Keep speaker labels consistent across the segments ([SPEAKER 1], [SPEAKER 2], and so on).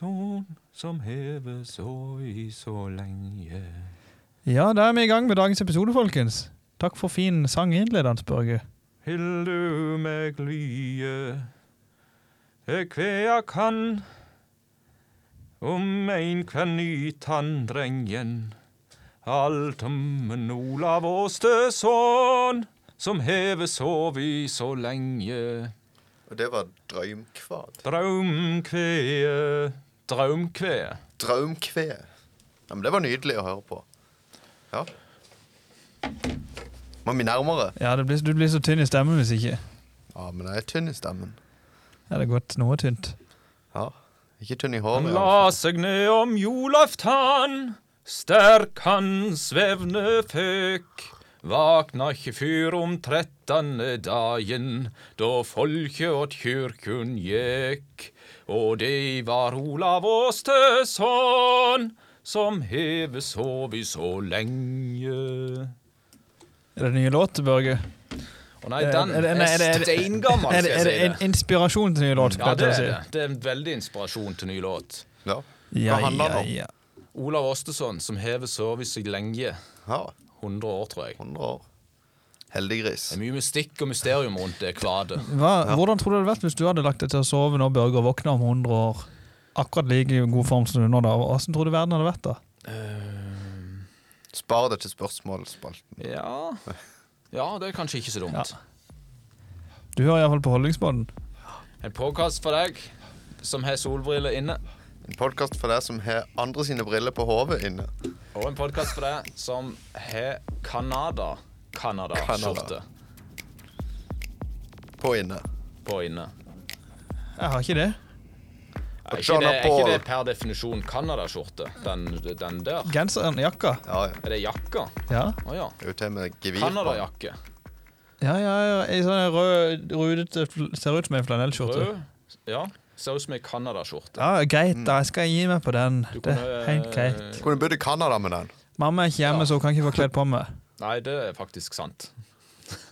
[SPEAKER 1] Son som heves oi så lenge.
[SPEAKER 2] Ja, da er vi i gang med dagens episode, folkens. Takk for fin sanginnledende, Børge.
[SPEAKER 1] Hyll du meg lye, det kvea kan, om ein kan nytann drengen. Alt om en Olav Åstesson, som heves ovi så lenge.
[SPEAKER 3] Og det var drømkvad.
[SPEAKER 1] Draumkvee, draumkvee.
[SPEAKER 3] Drømkve. Ja, men det var nydelig å høre på. Ja. Må vi nærmere?
[SPEAKER 2] Ja, det blir, du blir så tynn i stemmen hvis ikke.
[SPEAKER 3] Ja, men jeg er tynn i stemmen.
[SPEAKER 2] Ja, det er godt noe tynt.
[SPEAKER 3] Ja. Ikke tynn i
[SPEAKER 1] Han
[SPEAKER 2] Sånn,
[SPEAKER 3] håret. i
[SPEAKER 1] la
[SPEAKER 3] hvert fall.
[SPEAKER 1] seg ned om julaftan, sterk han svevne føk. Vakna ikke fyr om trettande dagen, da folket åt kyrkun gjekk. Og det var Olav Åstesson, som heve sovi så lenge.
[SPEAKER 2] Er det nye låt, Børge?
[SPEAKER 1] Å nei,
[SPEAKER 2] Er-
[SPEAKER 1] den
[SPEAKER 2] Eh, er det-
[SPEAKER 1] er,
[SPEAKER 2] nei, er det- er det-
[SPEAKER 1] steingammel,
[SPEAKER 2] Er det,
[SPEAKER 1] skal
[SPEAKER 2] er det
[SPEAKER 1] jeg
[SPEAKER 2] en
[SPEAKER 1] si det.
[SPEAKER 2] inspirasjon til ny låt?
[SPEAKER 1] Ja, det er
[SPEAKER 2] jeg til å
[SPEAKER 1] det.
[SPEAKER 2] si?
[SPEAKER 1] Det er en veldig inspirasjon til ny låt.
[SPEAKER 3] Ja.
[SPEAKER 2] Ja,
[SPEAKER 3] Hva handler det om?
[SPEAKER 2] ja, ja.
[SPEAKER 1] Olav Åstesson, som hever sovet seg lenge.
[SPEAKER 3] ja.
[SPEAKER 1] 100 år, tror jeg.
[SPEAKER 3] 100 år. Heldiggris.
[SPEAKER 1] Det er mye mystikk og mysterium rundt det kvadet.
[SPEAKER 2] Hva, Hvordan tror du det hadde vært hvis du hadde lagt deg til å sove nå, Børge, og våkna om 100 år? Akkurat like i god form som du er nå, da. Hvordan tror du verden hadde vært da?
[SPEAKER 3] Spar det til spørsmålsspalten.
[SPEAKER 1] Ja Ja, det er kanskje ikke så dumt.
[SPEAKER 2] Du hører iallfall på Holdningsbåten.
[SPEAKER 1] En påkast for deg som har solbriller inne,
[SPEAKER 3] En podkast for deg som har andre sine briller på hodet inne.
[SPEAKER 1] og en podkast for deg som har Canada Canada-skjorte
[SPEAKER 3] På inne.
[SPEAKER 1] på inne.
[SPEAKER 2] Jeg har ikke det.
[SPEAKER 1] Er ikke,
[SPEAKER 3] John
[SPEAKER 1] det, er ikke
[SPEAKER 3] Paul.
[SPEAKER 1] det per definisjon Canada-skjorte? Den, den der?
[SPEAKER 2] Genseren, jakka.
[SPEAKER 3] Ja, ja.
[SPEAKER 1] Er det jakka?
[SPEAKER 2] Ja,
[SPEAKER 1] Å ja.
[SPEAKER 3] Det er jo til med gevir. på.
[SPEAKER 1] Canada-jakke.
[SPEAKER 2] ja, ja, ja. Ei sånn rød, rudete fl- Ser ut som ei flanellskjorte.
[SPEAKER 1] Rød. Ja. Ser ut som ei Canada-skjorte.
[SPEAKER 2] Ja, Ah,
[SPEAKER 3] Mm.
[SPEAKER 2] greit, da. Jeg skal gi meg på den.
[SPEAKER 1] Du
[SPEAKER 2] Det er
[SPEAKER 3] eh,
[SPEAKER 1] kunne,
[SPEAKER 2] helt greit.
[SPEAKER 3] Kunne bodd i Canada med den.
[SPEAKER 2] Mamma er ikke hjemme, så hun kan ikke få kledd på meg.
[SPEAKER 1] Nei, det er faktisk sant.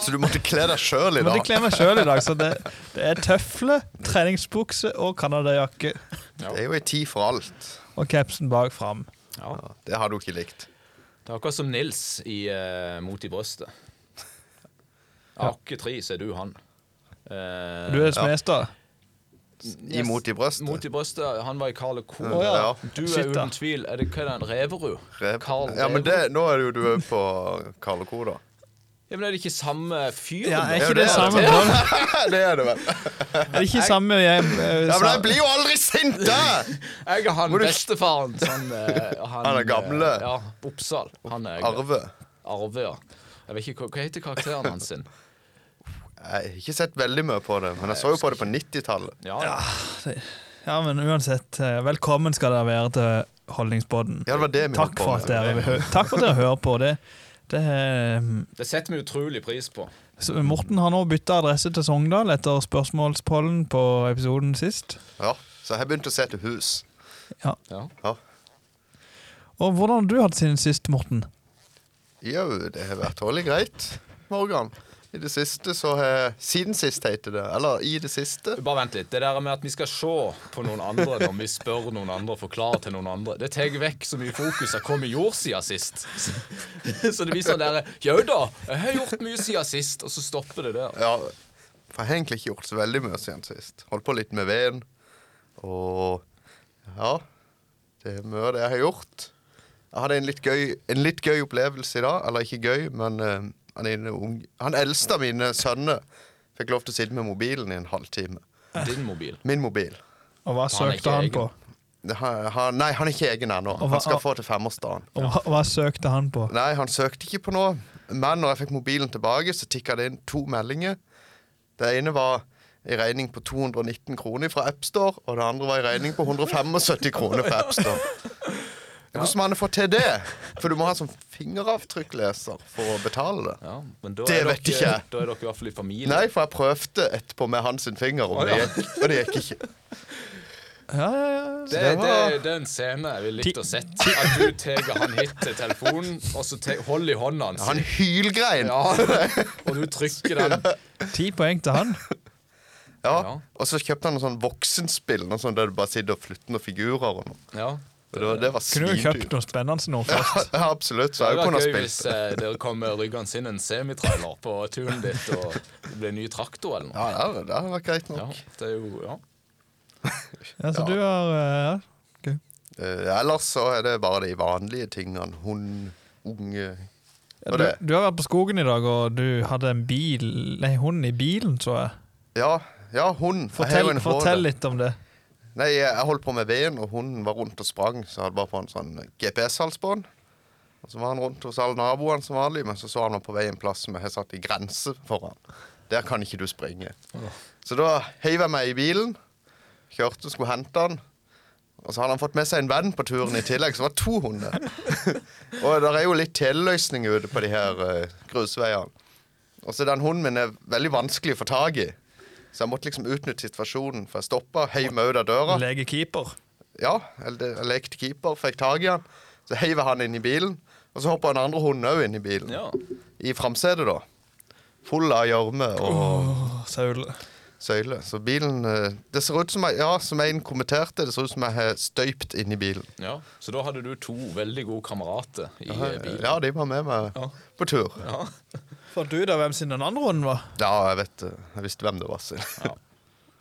[SPEAKER 3] Så du måtte kle deg sjøl i
[SPEAKER 2] Jeg måtte
[SPEAKER 3] dag.
[SPEAKER 2] kle meg sjøl i dag, så det, det er tøfle, treningsbukse og canadajakke.
[SPEAKER 3] Det er jo ei tid for alt.
[SPEAKER 2] Og capsen bak fram.
[SPEAKER 1] Ja.
[SPEAKER 3] Ja, det har du ikke likt.
[SPEAKER 1] Det er akkurat som Nils i eh, Mot i brøstet. Av Akke tre, så er du han. Eh,
[SPEAKER 2] Du er Smestad.
[SPEAKER 1] yes.
[SPEAKER 3] Imot i brøstet.
[SPEAKER 1] Mot i brøstet, han var i Karl Co.
[SPEAKER 3] Å, ja.
[SPEAKER 1] Du er
[SPEAKER 2] Shit, da.
[SPEAKER 1] uten tvil Er det hva er det, Reverud?
[SPEAKER 3] Rev.
[SPEAKER 1] Karl
[SPEAKER 3] Ja, men
[SPEAKER 1] Reverud?
[SPEAKER 3] det, nå er det jo du er på Karl og Co, da.
[SPEAKER 1] Ja, men er det ikke samme fyren?
[SPEAKER 2] Ja, er
[SPEAKER 1] da?
[SPEAKER 3] jo
[SPEAKER 2] ikke
[SPEAKER 3] det
[SPEAKER 2] det samme
[SPEAKER 3] det.
[SPEAKER 2] bånd?
[SPEAKER 3] det er det vel.
[SPEAKER 2] Er det ikke samme jeg eh,
[SPEAKER 3] Ja, men
[SPEAKER 2] sa-
[SPEAKER 3] jeg blir jo aldri sint, jeg!
[SPEAKER 1] Jeg er han
[SPEAKER 3] Må du-
[SPEAKER 1] bestefaren. Sånn, eh, han,
[SPEAKER 3] Han er gamle.
[SPEAKER 1] eh, Ja, Oppsal. Han er
[SPEAKER 3] Arve.
[SPEAKER 1] Arve, ja. Jeg vet ikke hva, hva heter karakteren hans sin.
[SPEAKER 3] Jeg har ikke sett veldig mye på det, men jeg så jo på det på 90-tallet.
[SPEAKER 1] Ja, ja.
[SPEAKER 2] Ja, men uansett, eh, velkommen skal dere være til Holdningspodden.
[SPEAKER 3] Ja, det var det vi
[SPEAKER 2] Takk for at
[SPEAKER 3] holdt på
[SPEAKER 2] dere,
[SPEAKER 3] med.
[SPEAKER 2] hø- takk for at dere hører på. Det, det er, mm,
[SPEAKER 1] Det setter vi utrolig pris på.
[SPEAKER 2] så Morten har nå bytta adresse til Sogndal etter spørsmålspollen på episoden sist.
[SPEAKER 3] Ja, så jeg begynte å se til hus.
[SPEAKER 1] Ja.
[SPEAKER 3] Ja.
[SPEAKER 2] Og hvordan har du hatt siden sist, Morten?
[SPEAKER 3] Jo, det har vært tålelig greit, Morgan. I det siste så har Siden sist, heter det. Eller i det siste.
[SPEAKER 1] Bare vent litt. Det der med at vi skal se på noen andre når vi spør noen andre og forklarer til noen andre, det tar vekk så mye fokus av hva vi gjorde siden sist. Så det blir sånn derre Jau da, jeg har gjort mye siden sist, og så stopper det der.
[SPEAKER 3] Ja, for jeg har egentlig ikke gjort så veldig mye siden sist. Holdt på litt med veden. Og ja, det er mye av det jeg har gjort. Jeg hadde en litt gøy, en litt gøy opplevelse i dag. Eller ikke gøy, men eh, han, ene ung, han eldste av mine sønner fikk lov til å sitte med mobilen i en halvtime.
[SPEAKER 1] Din mobil.
[SPEAKER 3] Min mobil.
[SPEAKER 2] Og hva
[SPEAKER 1] Han er ikke
[SPEAKER 2] søkte han
[SPEAKER 1] egen.
[SPEAKER 2] på?
[SPEAKER 3] Det, han, han, nei, han er ikke egen ennå.
[SPEAKER 2] Og hva-
[SPEAKER 3] Han skal få til femårsdagen.
[SPEAKER 2] Og hva, hva søkte han på?
[SPEAKER 3] Nei, han søkte ikke på noe. Men når jeg fikk mobilen tilbake, så tikka det inn to meldinger. Det ene var en regning på 219 kroner fra AppStore, og det andre var en regning på 175 kroner fra AppStore. Hvordan man har fått til det? For du må ha sånn fingeravtrykkleser for å betale det.
[SPEAKER 1] Ja, men da
[SPEAKER 3] Det
[SPEAKER 1] er
[SPEAKER 3] vet
[SPEAKER 1] dere,
[SPEAKER 3] ikke jeg.
[SPEAKER 1] Da er dere i hvert fall i familie.
[SPEAKER 3] Nei, for jeg prøvde etterpå med hans sin finger, og det gikk, og det gikk ikke.
[SPEAKER 2] Ja, ja, ja.
[SPEAKER 1] Det,
[SPEAKER 3] det
[SPEAKER 1] det, det,
[SPEAKER 3] var-
[SPEAKER 1] er en scene jeg ville likt å sett. At du tar han hit til telefonen, og så te, hold i hånda hans.
[SPEAKER 3] Han hylgrein.
[SPEAKER 1] Ja, og du trykker den.
[SPEAKER 2] Ti poeng til han.
[SPEAKER 1] Ja.
[SPEAKER 3] Ja. Og så kjøpte han noe sånn voksenspill noe sånn der du bare sitter og flytter noen figurer. og noe.
[SPEAKER 1] Ja.
[SPEAKER 3] Og det, var- det var
[SPEAKER 2] Kunne jo kjøpt
[SPEAKER 3] svindyrt.
[SPEAKER 2] noe spennende nå først.
[SPEAKER 3] Ja, absolutt. Så
[SPEAKER 1] Det
[SPEAKER 3] jeg
[SPEAKER 1] hadde
[SPEAKER 3] kunne ha
[SPEAKER 1] vært gøy
[SPEAKER 3] spilt
[SPEAKER 1] hvis eh, dere kom med ryggene sin en semitrailer på turen ditt, og det ble ny traktor eller noe.
[SPEAKER 3] Ja, det hadde- det hadde vært greit
[SPEAKER 1] Ja,
[SPEAKER 3] nok.
[SPEAKER 1] det er jo, ja.
[SPEAKER 2] Ja, så
[SPEAKER 3] Ja.
[SPEAKER 2] du har eh, ja. Ok.
[SPEAKER 3] Eh, ellers så er det bare de vanlige tingene. Hund, unge
[SPEAKER 2] ja,
[SPEAKER 3] Og
[SPEAKER 2] du,
[SPEAKER 3] det-
[SPEAKER 2] du har vært på skogen i dag, og du hadde en bil Nei, hund i bilen, så jeg.
[SPEAKER 3] Ja, ja hund. Jeg har
[SPEAKER 2] Fortell,
[SPEAKER 3] jo en HD.
[SPEAKER 2] fortell litt om det.
[SPEAKER 3] Nei, jeg jeg holdt på med veden, og hunden var rundt og sprang. Så jeg hadde bare på en sånn GPS-halsbånd. Og så var han rundt hos alle naboene som vanlig, men så så han meg på vei en plass som jeg satt i grense foran. Der kan ikke du springe. Så da heiv jeg meg i bilen, kjørte og skulle hente han. Og så hadde han fått med seg en venn på turen i tillegg, så det var to hunder. og der er jo litt teleløsninger ute på de her eh, grusveiene. Og så den hunden min er veldig vanskelig å få tak i. Så jeg måtte liksom utnytte situasjonen, for jeg stoppa, heiv meg ut av døra.
[SPEAKER 2] Legekeeper.
[SPEAKER 3] Ja, eller det- jeg lekte keeper, fikk tak i han. Så heiv jeg han inn i bilen. Og så hoppa den andre hunden òg inn i bilen.
[SPEAKER 1] Ja.
[SPEAKER 3] I framsetet, da. Full av gjørme og
[SPEAKER 2] Åh, Saul.
[SPEAKER 3] søyle. Så bilen eh, Det ser ut som jeg, ja, som en kommenterte, det ser ut som jeg har støypt inn i bilen.
[SPEAKER 1] Ja, Så da hadde du to veldig gode kamerater i eh, bilen.
[SPEAKER 3] Ja, de var med meg
[SPEAKER 1] Ja.
[SPEAKER 3] på tur.
[SPEAKER 1] Ja.
[SPEAKER 2] Fant du ut av hvem sin den andre hunden var?
[SPEAKER 3] Ja, jeg vet eh, Jeg visste hvem det var. Sil.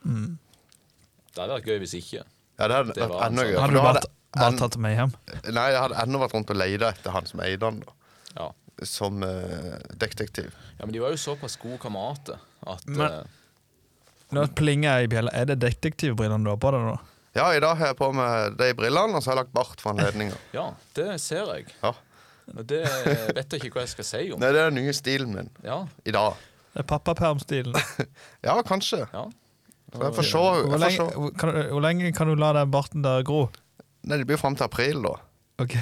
[SPEAKER 1] Det hadde vært gøy hvis ikke.
[SPEAKER 3] Ja, det hadde
[SPEAKER 1] Det
[SPEAKER 3] vært
[SPEAKER 1] var
[SPEAKER 3] enda
[SPEAKER 1] han, sånn.
[SPEAKER 3] gøy. for
[SPEAKER 2] Hadde du
[SPEAKER 3] da
[SPEAKER 2] bare, bare
[SPEAKER 3] en-
[SPEAKER 2] tatt meg hjem?
[SPEAKER 3] Nei, jeg hadde ennå vært rundt og leita etter han som eide han, da.
[SPEAKER 1] Ja.
[SPEAKER 3] Som eh, detektiv.
[SPEAKER 1] ja, Men de var jo såpass gode kamerater at
[SPEAKER 2] Men-
[SPEAKER 1] eh,
[SPEAKER 2] Nå plinger jeg i bjella. Er det detektivbrillene du har på deg nå?
[SPEAKER 3] Ja, i dag har jeg på meg de brillene, og så har jeg lagt bart for anledninga.
[SPEAKER 1] Ja, det ser jeg.
[SPEAKER 3] Ja.
[SPEAKER 1] Og det vet jeg ikke hva jeg skal si om.
[SPEAKER 3] Nei, det er den nye stilen min
[SPEAKER 1] Ja,
[SPEAKER 3] i dag.
[SPEAKER 2] Det er pappapermstilen.
[SPEAKER 3] Ja, kanskje.
[SPEAKER 1] ja.
[SPEAKER 3] Så jeg får se.
[SPEAKER 2] Hvor,
[SPEAKER 3] Jeg får
[SPEAKER 2] lenge-
[SPEAKER 3] se.
[SPEAKER 2] hvor- kan du- hvor lenge kan du la den barten der gro?
[SPEAKER 3] Nei, det blir fram til april, da.
[SPEAKER 2] Ok.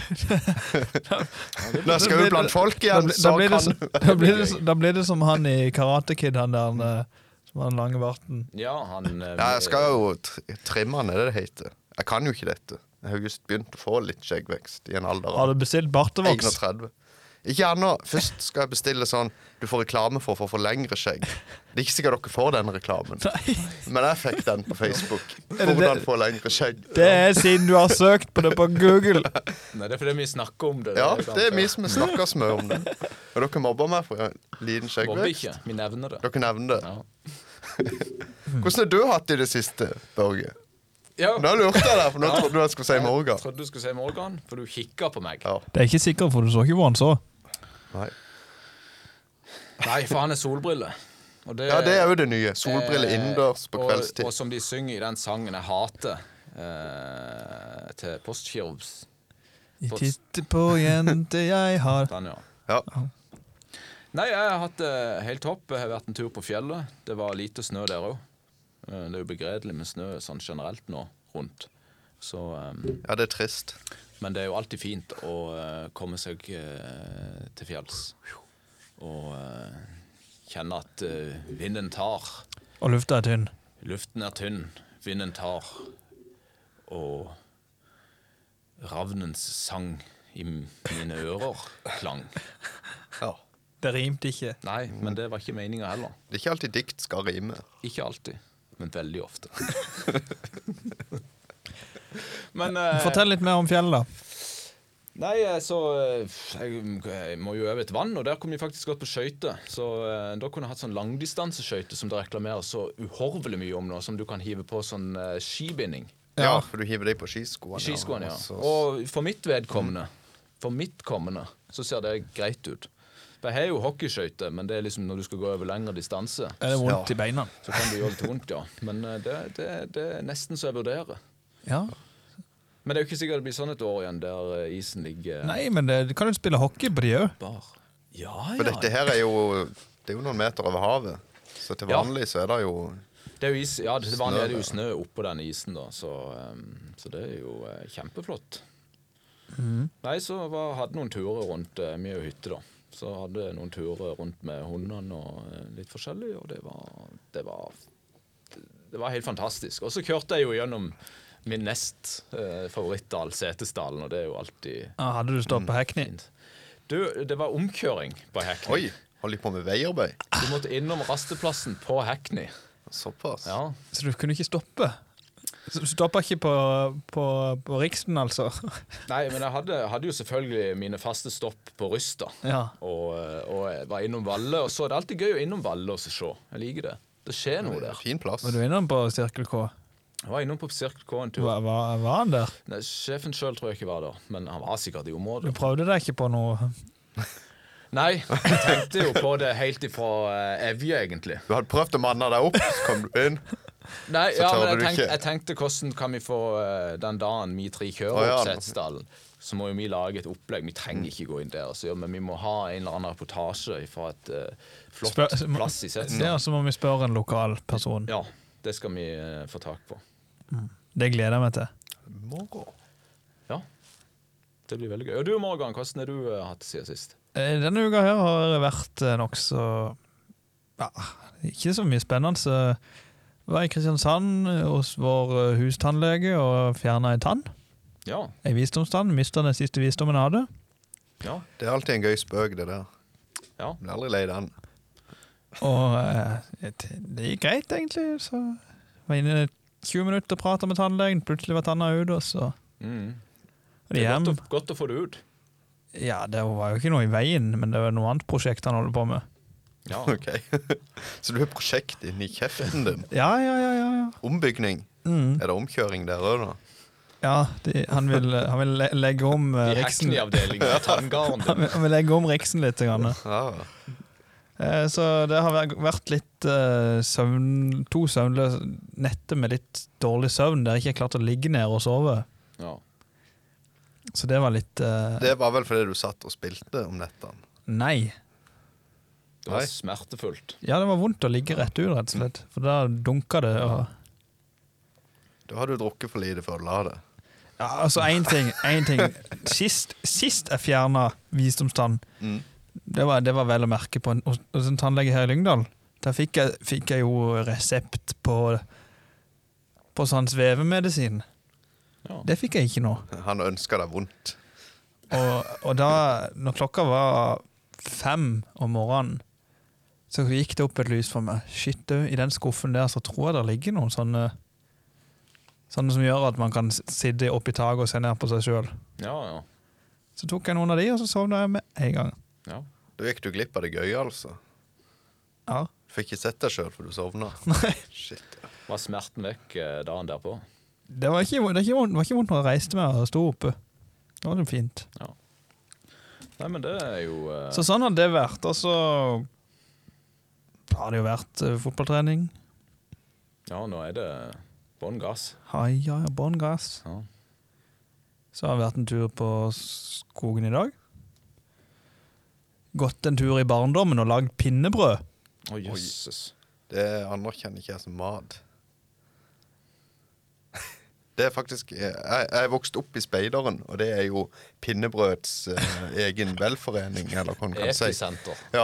[SPEAKER 3] Når jeg skal
[SPEAKER 2] blir-
[SPEAKER 3] ut blant folk
[SPEAKER 2] Da,
[SPEAKER 3] igjen,
[SPEAKER 2] blir- da,
[SPEAKER 3] så
[SPEAKER 2] blir det,
[SPEAKER 3] kan
[SPEAKER 2] så- da, blir det, så- da blir det som han i Karate Kid, han der eh, som har den lange barten.
[SPEAKER 1] Ja, han eh,
[SPEAKER 3] Ja, jeg skal jo tr- trimme den, er det det heter. Jeg kan jo ikke dette. Jeg har jo just begynt å få litt skjeggvekst i en alder
[SPEAKER 2] Har
[SPEAKER 3] av
[SPEAKER 2] du bestilt bartevoks?
[SPEAKER 3] 31. Ikke ennå. Først skal jeg bestille sånn du får reklame for for å få lengre skjegg. Det er ikke sikkert dere får den reklamen,
[SPEAKER 2] Nei,
[SPEAKER 3] men jeg fikk den på Facebook.
[SPEAKER 2] Er det det-
[SPEAKER 3] Hvordan få lengre skjegg.
[SPEAKER 2] det er siden du har søkt på det på Google.
[SPEAKER 1] Nei, det er fordi vi snakker om det.
[SPEAKER 3] Ja,
[SPEAKER 1] sant,
[SPEAKER 3] det er vi
[SPEAKER 1] ja.
[SPEAKER 3] som snakker så mye om det. Og dere mobber meg for en liten
[SPEAKER 1] Mobber
[SPEAKER 3] skjeggvekst.
[SPEAKER 1] ikke. Vi nevner det.
[SPEAKER 3] Dere nevner det.
[SPEAKER 1] Ja.
[SPEAKER 3] Hvordan har du hatt det i det siste, Børge?
[SPEAKER 1] ja.
[SPEAKER 3] Da lurte jeg deg, for nå trodde du jeg skulle si
[SPEAKER 1] Jeg
[SPEAKER 3] Morgan.
[SPEAKER 1] trodde du skulle si Morgan, for du kikka på meg.
[SPEAKER 3] Ja.
[SPEAKER 2] Det er ikke sikkert, for du så ikke hvor han så.
[SPEAKER 3] Nei.
[SPEAKER 1] Nei, for han er solbrille. Og
[SPEAKER 3] ja, det er jo det nye. Solbriller innendørs på
[SPEAKER 1] Eh, og-
[SPEAKER 3] kveldstid.
[SPEAKER 1] Og, som de synger i den sangen jeg hater, eh, til Postgirobs.
[SPEAKER 2] Jeg titter på jenter jeg har
[SPEAKER 1] Den, ja.
[SPEAKER 3] Ja.
[SPEAKER 1] Nei, jeg har hatt det helt topp. Jeg har vært en tur på fjellet. Det var lite snø der òg. Det er jo begredelig med snø sånn generelt nå rundt. Så eh,
[SPEAKER 3] ja, det er trist.
[SPEAKER 1] Men det er jo alltid fint å eh, komme seg eh, til fjells. Og eh, kjenne at eh, vinden tar,
[SPEAKER 2] Og lufta er tynn.
[SPEAKER 1] luften er tynn, vinden tar. Og ravnens sang i m- mine ører klang.
[SPEAKER 3] Ja.
[SPEAKER 2] Det rimte ikke.
[SPEAKER 1] Nei, men det var ikke meninga heller.
[SPEAKER 3] Det er ikke alltid dikt skal rime.
[SPEAKER 1] Ikke alltid, men veldig ofte. men eh,
[SPEAKER 2] Fortell litt mer om fjellet, da.
[SPEAKER 1] Nei, eh, så eh, jeg, jeg må jo over et vann, og der kom de faktisk godt på skøyter. Så eh, da kunne jeg hatt sånn langdistanseskøyter som det reklamerer så uhorvelig mye om nå, som du kan hive på sånn eh, skibinding.
[SPEAKER 3] Ja, for du hiver deg på skiskoene.
[SPEAKER 1] I skiskoene, ja.
[SPEAKER 3] og
[SPEAKER 2] altså,
[SPEAKER 3] så-
[SPEAKER 1] Og for mitt vedkommende, for mitt kommende, så ser det greit ut. For Jeg har jo hockeyskøyter, men det er liksom når du skal gå over lengre distanse,
[SPEAKER 2] Er det vondt i beina?
[SPEAKER 1] så kan det gjøre litt vondt, ja. Men eh, det, det, det er nesten så jeg vurderer.
[SPEAKER 2] Ja.
[SPEAKER 1] Men det er jo ikke sikkert det blir sånn et år igjen der eh, isen ligger
[SPEAKER 2] Nei, men det, du kan jo spille hockey på de òg.
[SPEAKER 1] bar. Ja,
[SPEAKER 3] For
[SPEAKER 1] ja.
[SPEAKER 3] dette her er jo Det er jo noen meter over havet. Så til
[SPEAKER 1] Ja.
[SPEAKER 3] vanlig så er det jo
[SPEAKER 1] Det er jo is, ja, det vanlige er det jo
[SPEAKER 3] Snø,
[SPEAKER 1] snø oppå den isen, da, så, ehm, så det er jo eh, kjempeflott. Nei, så var, hadde noen turer rundt eh, mye hytte, da. Så hadde jeg noen turer rundt med hundene og eh, litt forskjellig, og det var, det var Det var helt fantastisk. Og så kjørte jeg jo gjennom min nest eh, favorittdal, Setesdalen, og det er jo alltid
[SPEAKER 2] Ja, Ah, hadde du stått
[SPEAKER 3] Mm.
[SPEAKER 2] på Hackney?
[SPEAKER 1] fint. Du, det var omkjøring på Hackney.
[SPEAKER 3] Oi, holder de på med veiarbeid?
[SPEAKER 1] Du måtte innom rasteplassen på Hackney.
[SPEAKER 3] Såpass.
[SPEAKER 1] Ja.
[SPEAKER 2] Så du kunne ikke stoppe? Så Du stoppa ikke på, på, på Riksen, altså?
[SPEAKER 1] Nei, men jeg hadde, hadde jo selvfølgelig mine faste stopp på Rysta.
[SPEAKER 2] Ja.
[SPEAKER 1] Og, eh, og jeg var innom Valle, og så er det alltid gøy å innom Valle og så se. Jeg liker det. Det skjer noe der.
[SPEAKER 3] Fin plass.
[SPEAKER 2] Var du innom på Sirkel K?
[SPEAKER 1] Jeg var innom på Circle K en tur.
[SPEAKER 2] Var, var, var han der?
[SPEAKER 1] Nei, Sjefen sjøl tror jeg ikke var der, men han var sikkert i
[SPEAKER 2] Du
[SPEAKER 1] området.
[SPEAKER 2] prøvde deg ikke på noe
[SPEAKER 1] Nei, jeg tenkte jo på det helt ifra eh, Evje, egentlig.
[SPEAKER 3] Du hadde prøvd å manne deg opp, så kom du inn.
[SPEAKER 1] Nei,
[SPEAKER 3] Så
[SPEAKER 1] ja,
[SPEAKER 3] tør
[SPEAKER 1] men jeg
[SPEAKER 3] du
[SPEAKER 1] tenkte,
[SPEAKER 3] ikke.
[SPEAKER 1] jeg tenkte hvordan kan vi få eh, den dagen vi tre kjører
[SPEAKER 3] Å, ja.
[SPEAKER 1] opp Setesdalen, så må jo vi lage et opplegg. Vi trenger ikke gå inn der, og så gjøre, men vi må ha en eller annen reportasje fra et eh, flott
[SPEAKER 2] Spør- så må-
[SPEAKER 1] plass i
[SPEAKER 2] Ja,
[SPEAKER 1] Setesdalen.
[SPEAKER 2] så må vi spørre en lokal person.
[SPEAKER 1] Ja, det skal vi eh, få tak på.
[SPEAKER 2] Det gleder jeg meg til.
[SPEAKER 3] Moro.
[SPEAKER 1] Ja. Det blir veldig gøy. Og du Morgan, hvordan har du eh, hatt det siden sist?
[SPEAKER 2] Eh, Denne uka her har det vært eh, nokså ja, Ikke så mye spennende. Så jeg var i Kristiansand eh, hos vår eh, hustannlege og fjerna ei tann.
[SPEAKER 1] Ja.
[SPEAKER 2] Ei visdomstann. Mista den siste visdommen jeg hadde.
[SPEAKER 1] Ja.
[SPEAKER 3] Det er alltid en gøy spøk, det der.
[SPEAKER 1] Ja.
[SPEAKER 3] Blir aldri lei den.
[SPEAKER 2] Og eh, det det gikk greit, egentlig. Så var inne i 20 minutter og prata med tannlegen. Plutselig var tanna ute, og så
[SPEAKER 1] Mm.
[SPEAKER 2] var de
[SPEAKER 1] Det er
[SPEAKER 2] hjem.
[SPEAKER 1] godt å, godt å få det ut.
[SPEAKER 2] Ja, det var jo ikke noe i veien, men det var noe annet prosjekt han holdt på med.
[SPEAKER 1] Ja.
[SPEAKER 3] Ok. Så du har prosjekt inni kjeften din.
[SPEAKER 2] Ja, ja, ja, ja, ja.
[SPEAKER 3] Ombygning.
[SPEAKER 2] Mm.
[SPEAKER 3] Er det omkjøring der òg, da?
[SPEAKER 2] Ja, de, han vil, han vil le legge om eh,
[SPEAKER 1] I
[SPEAKER 2] Riksen.
[SPEAKER 1] Hackney-avdelingen av Tanngarden.
[SPEAKER 2] Han vil, han vil legge om Riksen litt. Grann.
[SPEAKER 3] Ja.
[SPEAKER 2] Eh, så det har vært- vært litt eh, søvn, to søvnløse netter med litt dårlig søvn der jeg ikke har klart å ligge ned og sove.
[SPEAKER 1] Ja.
[SPEAKER 2] Så det var litt eh,
[SPEAKER 3] Det var vel fordi du satt og spilte om nettene.
[SPEAKER 2] Nei.
[SPEAKER 1] Det var
[SPEAKER 3] Nei.
[SPEAKER 1] smertefullt.
[SPEAKER 2] Ja, det var vondt å ligge rett ut, rett og slett. For da dunka det. Og...
[SPEAKER 3] Da har du drukket for lite før du la det.
[SPEAKER 2] Ja, altså, én ting. En ting. Sist, sist jeg fjerna visdomstann,
[SPEAKER 3] Mm.
[SPEAKER 2] det var, det var vel å merke på en, hos hos en tannlege her i Lyngdal. Der fikk jeg, fikk jeg jo resept på, på sånn svevemedisin.
[SPEAKER 1] Ja.
[SPEAKER 2] Det fikk jeg ikke nå.
[SPEAKER 3] Han ønska deg vondt.
[SPEAKER 2] Og, og da, når klokka var fem om morgenen, så gikk det opp et lys for meg. Shit, du, i den skuffen der så tror jeg det ligger noen sånne Sånne som gjør at man kan s- sitte oppi taket og se ned på seg sjøl.
[SPEAKER 1] Ja, ja.
[SPEAKER 2] Så tok jeg noen av de, og så sovna jeg med en gang.
[SPEAKER 1] ja.
[SPEAKER 3] Da gikk du glipp av det gøye, altså.
[SPEAKER 2] Ja.
[SPEAKER 3] Du fikk ikke sett deg sjøl, for du sovna.
[SPEAKER 2] Nei,
[SPEAKER 3] Shit. ja.
[SPEAKER 1] Var smerten vekk eh, dagen derpå?
[SPEAKER 2] det var ikke, vondt- det var ikke vondt- det var ikke vondt når jeg reiste meg og sto oppe. Det var det fint.
[SPEAKER 1] Nei, men det er jo eh,
[SPEAKER 2] Så sånn har det vært. Og så har det jo vært eh, fotballtrening.
[SPEAKER 1] Ja, nå er det bånn gass.
[SPEAKER 2] Haia, bånn gass.
[SPEAKER 1] Ja.
[SPEAKER 2] Så har det vært en tur på skogen i dag. Gått en tur i barndommen og lagd pinnebrød.
[SPEAKER 1] Å, jøsses.
[SPEAKER 3] Det anerkjenner ikke jeg som mat. Det er faktisk Jeg, jeg vokste opp i Speideren, og det er jo pinnebrødets eh, egen velforening, eller hva man kan si.
[SPEAKER 1] Episenter.
[SPEAKER 3] Ja.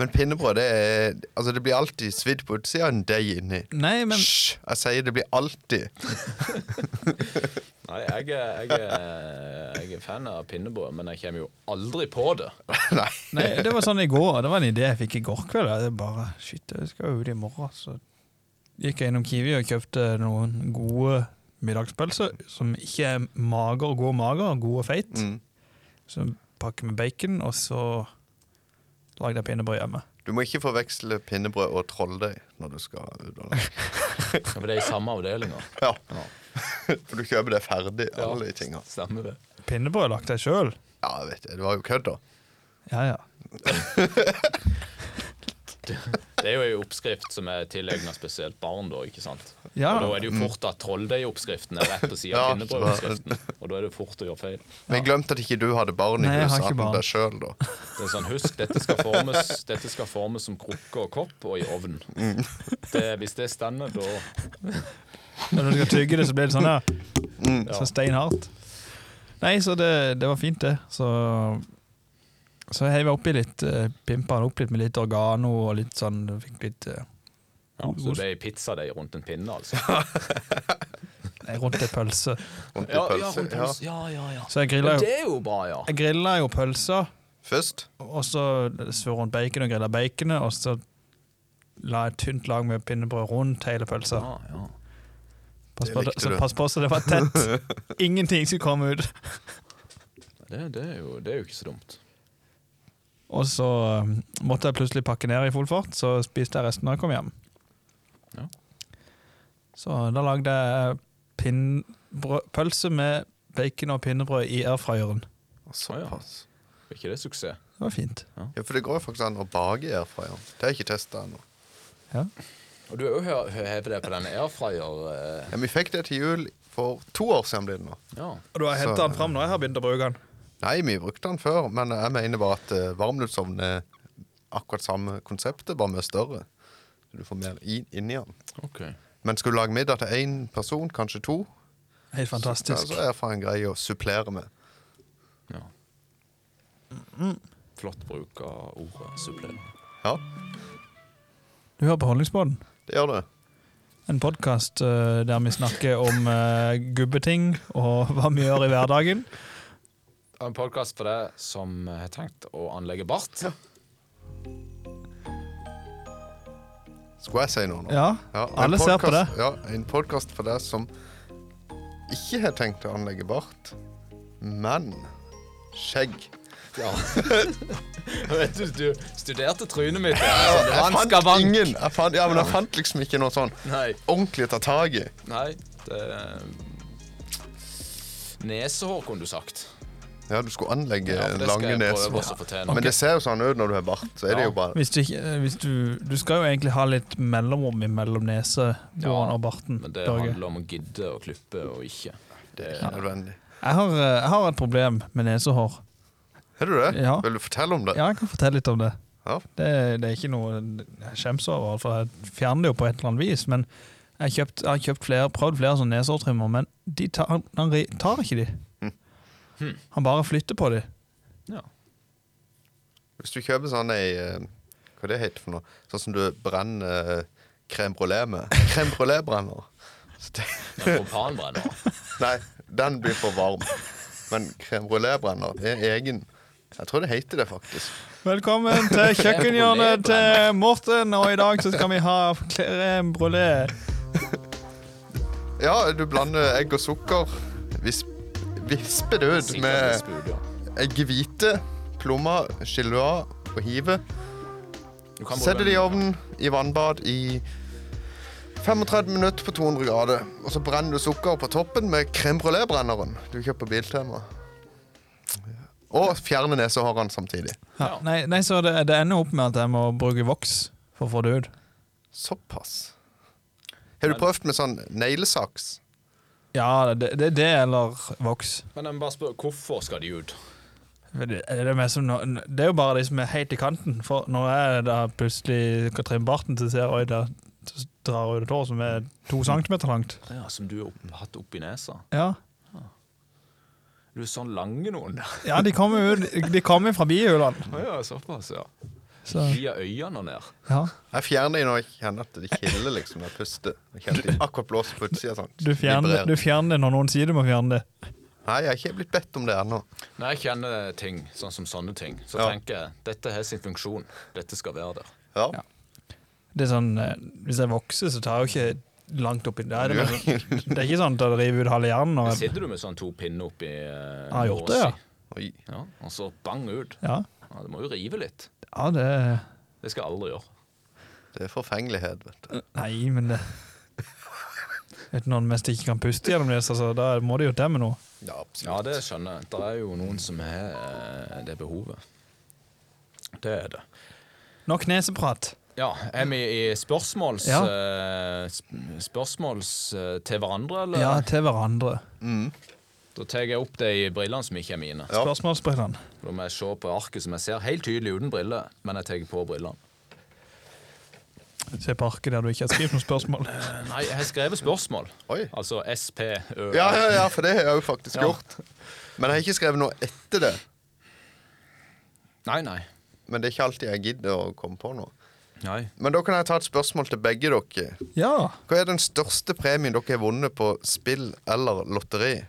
[SPEAKER 3] Men pinnebrød, det er Altså, det blir alltid svidd på utsida en deig inni.
[SPEAKER 2] Nei, men
[SPEAKER 3] Hysj! Jeg sier det blir alltid.
[SPEAKER 1] Nei, jeg, er- jeg, er- eh, jeg er fan av pinnebrød, men jeg kommer jo aldri på det.
[SPEAKER 3] Nei.
[SPEAKER 2] nei, det var sånn i går. Det var en idé jeg fikk i går kveld. Jeg bare, shit, jeg skal jo ut i morgen. Så gikk jeg innom Kiwi og kjøpte noen gode middagspølser, som ikke er mager, god mager, god og feit.
[SPEAKER 3] Mm.
[SPEAKER 2] Så en pakke med bacon, og så lagde jeg pinnebrød hjemme.
[SPEAKER 3] Du må ikke forveksle pinnebrød og trolldeig når du skal ut. og-
[SPEAKER 1] For det er i samme avdelinga.
[SPEAKER 3] Ja. For du kjøper det ferdig, alle de tinga.
[SPEAKER 1] Stemmer det.
[SPEAKER 2] Pinnebrød lagde jeg sjøl.
[SPEAKER 3] Ja, jeg vet det. Det var jo kødd, da.
[SPEAKER 2] Ja, ja.
[SPEAKER 1] Det er jo ei oppskrift som er tilegna spesielt barn, da, ikke sant?
[SPEAKER 2] Ja.
[SPEAKER 1] Og da er det jo fort at trolldeigoppskriften er rett på sida
[SPEAKER 3] Mm. Ja,
[SPEAKER 1] av pinnebrødoppskriften. Og da er det fort å gjøre feil.
[SPEAKER 3] Men jeg glemte at ikke du hadde barn i
[SPEAKER 2] Nei, jeg har
[SPEAKER 3] huset.
[SPEAKER 2] ikke
[SPEAKER 3] Han
[SPEAKER 2] barn.
[SPEAKER 3] deg selv, da.
[SPEAKER 1] Det er sånn, Husk, dette skal formes, dette skal formes som krukke og kopp og i ovn.
[SPEAKER 3] Mm.
[SPEAKER 1] Det, hvis det stender, da
[SPEAKER 2] Når du skal tygge det, så blir det sånn her.
[SPEAKER 3] Mm.
[SPEAKER 1] Ja.
[SPEAKER 2] Så steinhardt. Nei, så det, det var fint, det. Så, så heiv jeg oppi litt, eh, pimpa den opp litt med litt oregano og litt sånn Fikk litt eh,
[SPEAKER 1] Ja, så det er pizzadeig rundt en pinne, altså?
[SPEAKER 2] nei, rundt ei pølse.
[SPEAKER 3] Rundt i pølse. Ja.
[SPEAKER 1] Ja, ja, ja.
[SPEAKER 2] Så jeg
[SPEAKER 1] Ja,
[SPEAKER 2] grilla jo,
[SPEAKER 1] det er jo bra, ja.
[SPEAKER 2] jeg grilla jo pølser,
[SPEAKER 3] Først
[SPEAKER 2] og så surra rundt bacon og grilla baconet, og så la et tynt lag med pinnebrød rundt hele pølsa.
[SPEAKER 1] Ah, ja.
[SPEAKER 2] Pass
[SPEAKER 3] Det
[SPEAKER 2] på,
[SPEAKER 3] likte
[SPEAKER 2] så
[SPEAKER 3] du.
[SPEAKER 2] pass på så det var tett. Ingenting skulle komme ut.
[SPEAKER 1] det, det, er jo, det er jo ikke så dumt.
[SPEAKER 2] Og så um, måtte jeg plutselig pakke ned i full fart, så spiste jeg resten da jeg kom hjem.
[SPEAKER 1] Ja.
[SPEAKER 2] Så da lagde jeg pinnbrød- pølse med bacon og pinnebrød i airfryeren.
[SPEAKER 3] Såpass.
[SPEAKER 1] Er ikke det suksess?
[SPEAKER 2] Det var fint.
[SPEAKER 3] Ja, for det går jo faktisk an å bake airfryer. Det har jeg ikke testa ennå.
[SPEAKER 1] Og du er jo hø- hevet deg på den airfryer eh,
[SPEAKER 3] Ja, vi fikk det til jul for to år siden. blir det nå.
[SPEAKER 1] Ja.
[SPEAKER 2] Og du har hentet
[SPEAKER 3] Så-
[SPEAKER 2] den fram når jeg har begynt å bruke den.
[SPEAKER 3] Nei, vi brukte den før, men jeg mener bare at eh, varmluftsovn er akkurat samme konseptet, bare med større. Så du får mer in inni den.
[SPEAKER 1] OK.
[SPEAKER 3] Men skal du lage middag til én person, kanskje to,
[SPEAKER 2] Helt
[SPEAKER 3] ja,
[SPEAKER 2] fantastisk.
[SPEAKER 3] så er airfryeren grei å supplere med.
[SPEAKER 1] Ja. Flott bruk av ordet supplerende.
[SPEAKER 3] Ja,
[SPEAKER 2] Du hører på Holdningsbåten,
[SPEAKER 3] det gjør det.
[SPEAKER 2] en podkast der vi snakker om eh, gubbeting og hva vi gjør i hverdagen.
[SPEAKER 1] En podkast for deg som har tenkt å anlegge bart.
[SPEAKER 3] Skulle jeg si noe nå?
[SPEAKER 2] Ja,
[SPEAKER 3] en
[SPEAKER 2] alle ser på
[SPEAKER 3] podcast- Ja, en podkast for deg som ikke har tenkt å anlegge bart, men skjegg.
[SPEAKER 1] Ja. Vet du, du studerte trynet mitt. Ja.
[SPEAKER 3] Ja,
[SPEAKER 1] det var en skavank.
[SPEAKER 3] ingen. Jeg fant, ja, men jeg fant liksom ikke noe sånn
[SPEAKER 1] Nei.
[SPEAKER 3] ordentlig å ta tak i.
[SPEAKER 1] Nei, det Nesehår, kunne du sagt.
[SPEAKER 3] Ja, du skulle anlegge
[SPEAKER 1] Ja, for det skal
[SPEAKER 3] lange
[SPEAKER 1] jeg prøve
[SPEAKER 3] neser.
[SPEAKER 1] også å fortjene.
[SPEAKER 3] Men det ser jo sånn ut når du har bart. Så er det
[SPEAKER 1] Ja.
[SPEAKER 3] jo bare
[SPEAKER 2] Hvis du, ikke, eh, hvis du, du skal jo egentlig ha litt mellomrom mellom neseborene
[SPEAKER 1] Ja,
[SPEAKER 2] og barten.
[SPEAKER 1] Men det
[SPEAKER 2] Børge.
[SPEAKER 1] handler om å gidde å klippe og ikke.
[SPEAKER 3] Det er nødvendig.
[SPEAKER 2] Jeg, har, eh, jeg har et problem med nesehår.
[SPEAKER 3] Er du det?
[SPEAKER 2] Ja.
[SPEAKER 3] Vil du fortelle om det?
[SPEAKER 2] Ja, jeg kan fortelle litt om det.
[SPEAKER 3] Ja.
[SPEAKER 2] Det, det er ikke noe jeg skjemmes over, for jeg fjerner det jo på et eller annet vis. Men jeg har, kjøpt, jeg har kjøpt flere, prøvd flere sånne nesehårtrimmer, men de tar, han, han ri- tar ikke de.
[SPEAKER 1] Hmm.
[SPEAKER 2] Han bare flytter på de.
[SPEAKER 1] Ja.
[SPEAKER 3] Hvis du kjøper sånn ei eh, Hva det heter for noe? Sånn som du brenner eh, crème brulé med. Crème brulé-brenner. Så det-
[SPEAKER 1] Men Propanbrenner.
[SPEAKER 3] Nei, den blir for varm. Men crème brulé-brenner er egen. Jeg tror det heter det, faktisk.
[SPEAKER 2] Velkommen til
[SPEAKER 1] kjøkkenhjørnet til
[SPEAKER 2] Morten, og i dag så skal vi ha crème brulé.
[SPEAKER 3] Ja, du blander egg og sukker. Visp, visper det ut
[SPEAKER 1] Sikkert
[SPEAKER 3] med
[SPEAKER 1] misbruk, ja.
[SPEAKER 3] eggehvite, plommer, gelua og hive.
[SPEAKER 1] Du kan bruke
[SPEAKER 3] Setter det i
[SPEAKER 1] den-
[SPEAKER 3] ovnen i vannbad i 35 minutter på 200 grader. Og så brenner du sukker på toppen med crème brulé-brenneren du kjøper på Biltema. Og fjerner nesehårene samtidig.
[SPEAKER 1] Ja.
[SPEAKER 2] Nei, nei, så det, det ender opp med at jeg må bruke voks for å få det ut.
[SPEAKER 3] Såpass. Har du prøvd med sånn neglesaks?
[SPEAKER 2] Ja, det det- det er det eller voks.
[SPEAKER 1] Men jeg må bare spør, hvorfor skal de ut?
[SPEAKER 2] Men Det er, det, mest som, nå- det er jo bare de som er helt i kanten. For når jeg da plutselig skal trimme barten, så ser jeg oi, der drar ut et hår som er to centimeter langt.
[SPEAKER 1] Ja, Som du har opp, hatt oppi nesa?
[SPEAKER 2] Ja,
[SPEAKER 1] Du er sånn lange noen.
[SPEAKER 2] ja de kommer jo ut- de kommer fra bihulene.
[SPEAKER 1] Å ja, såpass, ja.
[SPEAKER 2] Så,
[SPEAKER 1] Via øynene og ned.
[SPEAKER 2] ja.
[SPEAKER 3] Jeg fjerner dem når jeg kjenner at det kilder liksom når jeg puster. Jeg kjenner de akkurat blåser på utsida sånn.
[SPEAKER 2] Du fjerner,
[SPEAKER 3] Vibrerer.
[SPEAKER 2] du fjerner det når noen sier du må fjerne det.
[SPEAKER 3] Nei, jeg har ikke blitt bedt om det ennå.
[SPEAKER 1] Når jeg kjenner ting, sånn som sånne ting, så
[SPEAKER 3] Ja.
[SPEAKER 1] tenker jeg dette har sin funksjon. Dette skal være der.
[SPEAKER 3] Ja.
[SPEAKER 2] Ja. Det er sånn, eh, Hvis jeg vokser, så tar jeg jo ikke langt oppi der. Det er, bare, det er ikke sånn at jeg river ut halve hjernen. Og,
[SPEAKER 1] Sitter du med sånn to pinner oppi eh,
[SPEAKER 2] Jeg har gjort det, ja.
[SPEAKER 1] låsen?
[SPEAKER 3] Oi.
[SPEAKER 1] ja. Og så bang ut.
[SPEAKER 2] ja,
[SPEAKER 1] Ja, det må jo rive litt.
[SPEAKER 2] ja, det
[SPEAKER 1] Det skal jeg aldri gjøre.
[SPEAKER 3] Det er forfengelighet, vet du.
[SPEAKER 2] Nei, men det Vet du når en mest ikke kan puste gjennom nesa, så da må det jo til med noe.
[SPEAKER 3] Ja,
[SPEAKER 1] Ja,
[SPEAKER 3] absolutt.
[SPEAKER 1] det skjønner jeg. Det er jo noen som har eh, det behovet. Det er det.
[SPEAKER 2] Nok neseprat.
[SPEAKER 1] Ja, er vi i spørsmåls...
[SPEAKER 2] Ja.
[SPEAKER 1] eh, sp- spørsmåls eh, til hverandre, eller?
[SPEAKER 2] Ja, til hverandre.
[SPEAKER 1] Da tar jeg opp de brillene som ikke er mine.
[SPEAKER 3] Ja.
[SPEAKER 2] Spørsmålsbrillene.
[SPEAKER 1] Da må jeg se på arket som jeg ser helt tydelig uten briller, men jeg tar på brillene.
[SPEAKER 2] Se på arket der du ikke har skrevet noe spørsmål.
[SPEAKER 1] Nei, jeg har skrevet spørsmål.
[SPEAKER 3] Oi.
[SPEAKER 1] Altså SPØ.
[SPEAKER 3] Ja, ja, ja, for det har jeg jo faktisk
[SPEAKER 1] Ja.
[SPEAKER 3] gjort. Men jeg har ikke skrevet noe etter det.
[SPEAKER 1] Nei, nei.
[SPEAKER 3] Men det er ikke alltid jeg gidder å komme på noe.
[SPEAKER 1] Nei.
[SPEAKER 3] Men da kan jeg ta et spørsmål til begge dere.
[SPEAKER 2] Ja.
[SPEAKER 3] Hva er den største premien dere har vunnet på spill eller lotteri?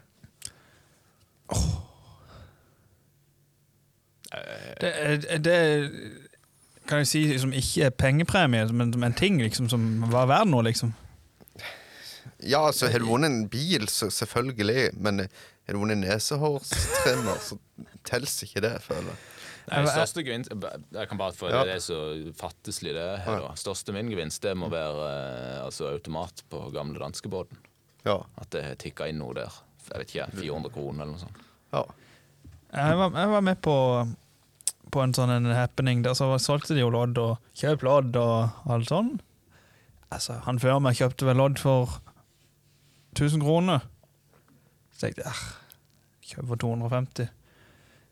[SPEAKER 2] Det, er- det er- kan jeg si som ikke er pengepremie, men som en ting liksom, som var verdt noe, liksom?
[SPEAKER 3] Ja, altså, har du vunnet en bil, så selvfølgelig. Men eh, har du vunnet en nesehårstrimmer, så telles ikke det, føler jeg.
[SPEAKER 1] Nei, største gevinst Jeg kan bare få
[SPEAKER 3] Ja.
[SPEAKER 1] Det er så fatteslig, det her. da. Største min gevinst det må være eh, altså, automat på gamle danskebåten.
[SPEAKER 3] Ja.
[SPEAKER 1] At det har tikka inn noe der. Jeg vet ikke, 400 kroner eller noe sånt.
[SPEAKER 3] ja.
[SPEAKER 2] Jeg var, jeg var med på, på en sånn en happening der så solgte de jo lodd og kjøp lodd og alt sånn. Altså, han før meg kjøpte vel lodd for 1000 kroner. Så tenkte jeg, "Ah, kjøp for 250.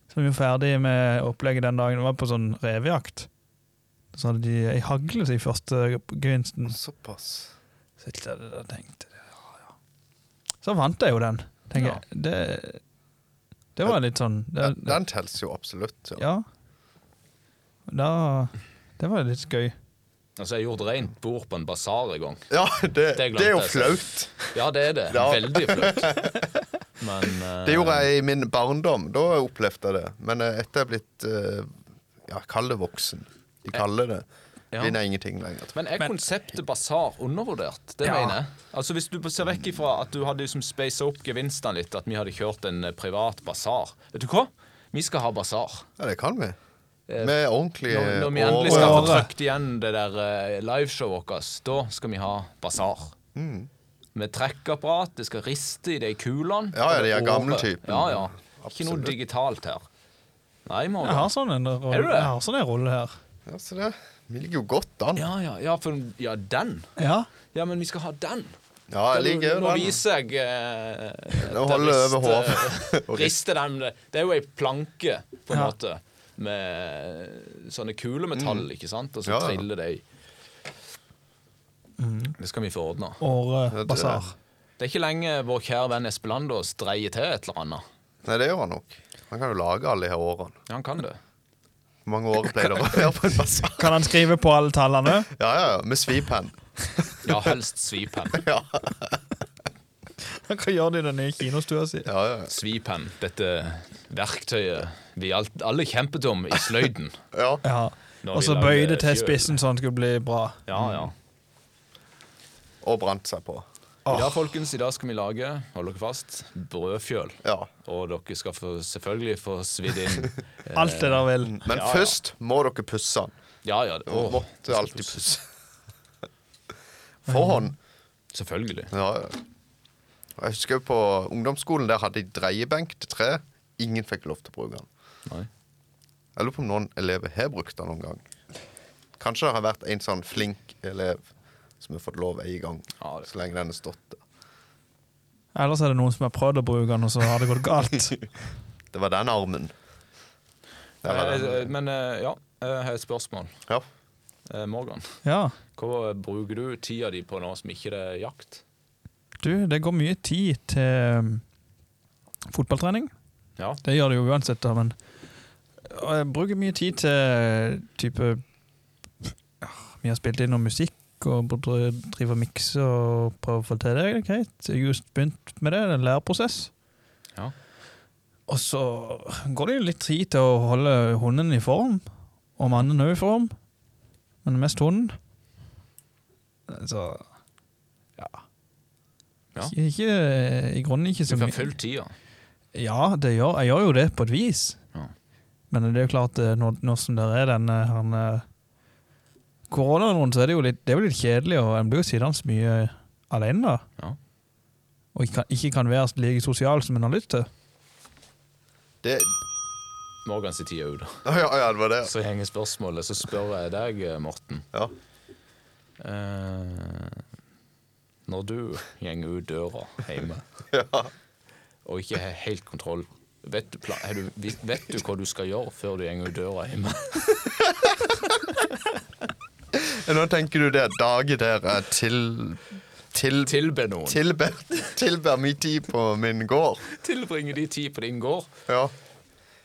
[SPEAKER 2] Så var vi jo ferdig med opplegget den dagen. Det var på sånn revejakt. Så hadde de ei hagle i første gevinsten.
[SPEAKER 3] Såpass.
[SPEAKER 2] Så jeg tenkte, da tenkte jeg, ja, ja. Så vant jeg jo den, tenker
[SPEAKER 1] Ja.
[SPEAKER 2] jeg. Det, det var litt sånn det,
[SPEAKER 3] Den, den telles jo absolutt. Ja.
[SPEAKER 2] ja. Da Det var litt gøy.
[SPEAKER 1] Altså, jeg gjorde rent bord på en basar en gang.
[SPEAKER 3] Ja, det,
[SPEAKER 1] Det glemte
[SPEAKER 3] det er jo
[SPEAKER 1] jeg, så.
[SPEAKER 3] flaut.
[SPEAKER 1] Ja, det er det.
[SPEAKER 3] Ja.
[SPEAKER 1] Veldig flaut. Men eh,
[SPEAKER 3] Det gjorde jeg i min barndom. Da opplevde jeg det. Men eh, etter jeg er blitt eh, Ja, kall det voksen. De kaller det
[SPEAKER 1] Ja.
[SPEAKER 3] Vinner ingenting lenger.
[SPEAKER 1] Men er konseptet basar undervurdert? Det
[SPEAKER 2] Ja.
[SPEAKER 1] mener jeg. Altså Hvis du ser vekk ifra at du hadde liksom spasa opp gevinstene litt, at vi hadde kjørt en eh, privat basar Vet du hva? Vi skal ha basar.
[SPEAKER 3] Ja, det kan vi.
[SPEAKER 1] Eh,
[SPEAKER 3] Med ordentlig
[SPEAKER 1] Når, når vi
[SPEAKER 3] år-
[SPEAKER 1] endelig skal få
[SPEAKER 2] Åre.
[SPEAKER 1] trykt igjen det der eh, liveshowet vårt, da skal vi ha basar.
[SPEAKER 3] Mm.
[SPEAKER 1] Med trekkeapparat, det skal riste i de kulene.
[SPEAKER 3] Ja, ja, de er
[SPEAKER 1] og
[SPEAKER 3] gamle
[SPEAKER 1] åre.
[SPEAKER 3] typen.
[SPEAKER 1] Ja, ja. Ikke noe
[SPEAKER 3] Absolutt.
[SPEAKER 1] digitalt her. Nei, Morgan.
[SPEAKER 2] Jeg har sånn en rolle,
[SPEAKER 1] Er du det?
[SPEAKER 2] jeg har sånn en rolle her.
[SPEAKER 3] Ja, så det. Vi ligger jo godt an. Ja,
[SPEAKER 1] Ja, ja, ja, for ja, den.
[SPEAKER 2] Ja.
[SPEAKER 1] Ja, men vi skal ha den.
[SPEAKER 3] jeg ligger
[SPEAKER 1] Nå
[SPEAKER 3] jo den.
[SPEAKER 1] viser jeg eh, at
[SPEAKER 3] Den holder
[SPEAKER 1] jeg
[SPEAKER 3] over hodet.
[SPEAKER 1] rister- rister den. Det er jo ei planke, på en
[SPEAKER 2] Ja.
[SPEAKER 1] måte, med sånne kulemetall, ikke sant? Og så
[SPEAKER 3] Mm. Ja, ja.
[SPEAKER 1] triller det i. Det skal vi få ordna.
[SPEAKER 2] Åre
[SPEAKER 3] det-
[SPEAKER 2] basar.
[SPEAKER 1] Det er ikke lenge vår kjære venn Espelandås dreier til et eller annet.
[SPEAKER 3] Nei, det gjør han nok. Han kan jo lage alle de her årene.
[SPEAKER 1] Ja, Han kan det.
[SPEAKER 3] Hvor mange år pleier det å være på en basar?
[SPEAKER 2] Kan han skrive på alle tallene?
[SPEAKER 3] Ja, ja, ja. Med svipenn.
[SPEAKER 1] Ja, helst svipenn.
[SPEAKER 3] Ja.
[SPEAKER 2] Hva gjør de i den nye kinostua si?
[SPEAKER 3] Ja, ja,
[SPEAKER 1] Svipenn, dette verktøyet vi alt, alle kjempet om i sløyden.
[SPEAKER 3] ja.
[SPEAKER 2] Ja.
[SPEAKER 1] Når
[SPEAKER 2] Og
[SPEAKER 1] de
[SPEAKER 2] så
[SPEAKER 1] lagde
[SPEAKER 2] bøyde det til
[SPEAKER 1] fjøl.
[SPEAKER 2] spissen så han skulle bli bra.
[SPEAKER 1] Ja, ja.
[SPEAKER 3] Og brant seg på.
[SPEAKER 1] I dag, folkens, i dag skal vi lage, hold dere fast, brødfjøl.
[SPEAKER 3] Ja.
[SPEAKER 1] Og dere skal få, selvfølgelig få svidd inn eh,
[SPEAKER 2] Alt det der vil.
[SPEAKER 3] Men
[SPEAKER 1] Ja, ja.
[SPEAKER 3] først må dere pusse den.
[SPEAKER 1] Ja, ja. det-
[SPEAKER 3] Dere
[SPEAKER 1] åh,
[SPEAKER 3] Måtte alltid pusse. For hånd.
[SPEAKER 1] selvfølgelig.
[SPEAKER 3] Ja, ja. Og Jeg husker på ungdomsskolen, der hadde de dreiebenk til tre. Ingen fikk lov til å bruke den.
[SPEAKER 1] Nei.
[SPEAKER 3] Jeg lurer på om noen elever har brukt den noen gang. Kanskje det har vært en sånn flink elev som har fått lov en gang,
[SPEAKER 1] Ja, det-
[SPEAKER 3] så lenge den har stått der.
[SPEAKER 2] Ellers er det noen som har prøvd å bruke den, og så har det gått galt.
[SPEAKER 3] Det var den armen. Der var
[SPEAKER 1] Eh, eh,
[SPEAKER 3] den.
[SPEAKER 1] Men eh, ja, jeg har et spørsmål.
[SPEAKER 3] Ja.
[SPEAKER 1] Eh, Morgan,
[SPEAKER 2] Ja.
[SPEAKER 1] hva bruker du tida di på nå som ikke det er jakt?
[SPEAKER 2] Du, det går mye tid til um, fotballtrening.
[SPEAKER 1] Ja.
[SPEAKER 2] Det gjør det jo uansett, da, men Og jeg bruker mye tid til type ja, Vi har spilt inn noe musikk og br- dr- driver og mikser og prøver å få til det. det er greit. Jeg har Just begynt med det. Det er en læreprosess.
[SPEAKER 1] Ja.
[SPEAKER 2] Og så går det jo litt tid til å holde hunden i form, og mannen òg i form, men mest hunden. Så ja.
[SPEAKER 1] Ja.
[SPEAKER 2] Ikke, ikke, I grunnen ikke
[SPEAKER 1] Du
[SPEAKER 2] så
[SPEAKER 1] får
[SPEAKER 2] mye.
[SPEAKER 1] fulgt tida.
[SPEAKER 2] Ja, det gjør, jeg gjør jo det på et vis.
[SPEAKER 1] Ja.
[SPEAKER 2] Men det er jo klart, eh, når, når som det er denne han, eh, koronaen rundt, så er det jo litt, det er jo litt kjedelig, og en blir jo sittende så mye eh, alene da.
[SPEAKER 1] Ja.
[SPEAKER 2] Og ikke, kan- ikke kan være like sosial som en har lyst til.
[SPEAKER 3] Det,
[SPEAKER 1] Morgan sitt tid er ute.
[SPEAKER 3] ja, ja, ja, det var det.
[SPEAKER 1] Så henger spørsmålet, så spør jeg deg, eh, Morten.
[SPEAKER 3] Ja.
[SPEAKER 1] Eh, når du gjenger ut døra hjemme og ikke har helt kontroll Vet du, pla- har du, vi- vet du hva du skal gjøre før du gjenger ut døra hjemme?
[SPEAKER 3] Nå tenker du det dagen der jeg til, til,
[SPEAKER 1] Tilbe noen.
[SPEAKER 3] tilber, tilber min tid på min gård.
[SPEAKER 1] Tilbringe de tid på din gård.
[SPEAKER 3] Ja.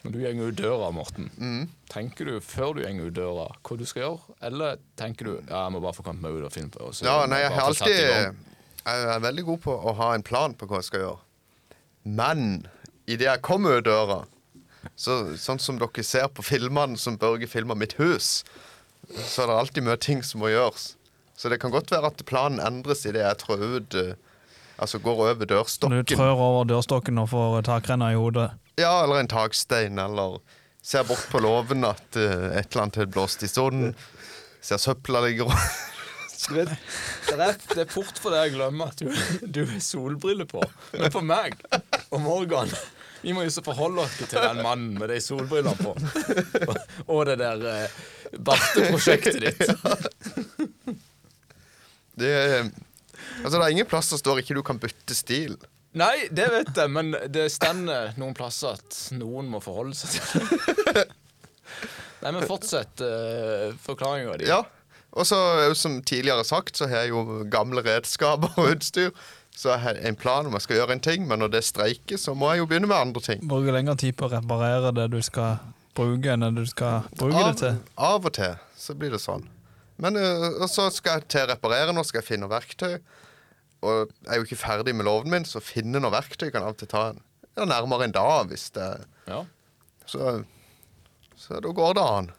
[SPEAKER 1] Når du gjenger ut døra, Morten,
[SPEAKER 3] Mm.
[SPEAKER 1] tenker du før du gjenger ut døra hva du skal gjøre, eller tenker du ja, jeg må bare få kommet meg ut og finne på og så
[SPEAKER 3] ja, nei, jeg
[SPEAKER 1] eh, bare
[SPEAKER 3] har
[SPEAKER 1] få satt
[SPEAKER 3] alltid eh,
[SPEAKER 1] i gang».
[SPEAKER 3] Jeg er veldig god på å ha en plan på hva jeg skal gjøre. Men idet jeg kommer ut døra, så, sånn som dere ser på filmene som Børge filma Mitt hus, så er det alltid mye ting som må gjøres. Så det kan godt være at planen endres idet jeg trår ut eh, Altså går over
[SPEAKER 2] Når
[SPEAKER 3] dørstokken.
[SPEAKER 2] du trør over dørstokken og får takrenna i hodet.
[SPEAKER 3] Ja, eller en takstein, eller ser bort på låven at eh, et eller annet er blåst i stunden. Ser søpla ligger og
[SPEAKER 1] Du vet, det, er, det er fort for deg å glemme at du, du har solbriller på. Men for meg og Morgan Vi må jo så forholde oss til den mannen med de solbrillene på. Og, og det der eh, barteprosjektet ditt.
[SPEAKER 3] det, er- Altså, det er ingen plass som står ikke du kan bytte stil.
[SPEAKER 1] Nei, det vet jeg, men det stender noen plasser at noen må forholde seg til det. Nei, men fortsett uh, forklaringa di.
[SPEAKER 3] Ja. Og så, eh, som tidligere sagt, så har jeg jo gamle redskaper og utstyr. Så jeg har en plan om jeg skal gjøre en ting, men når det streiker, så må jeg jo begynne med andre ting.
[SPEAKER 2] Bruker lengre tid på å reparere det du skal bruke, enn det du skal bruke det til.
[SPEAKER 3] Av og til så blir det sånn. Men øh, og så skal jeg til å reparere nå, skal jeg finne verktøy. Og jeg er jo ikke ferdig med låven min, så finne noe verktøy kan av og til ta en ja, nærmere en dag. hvis det
[SPEAKER 1] Ja.
[SPEAKER 3] Så, så da går det an.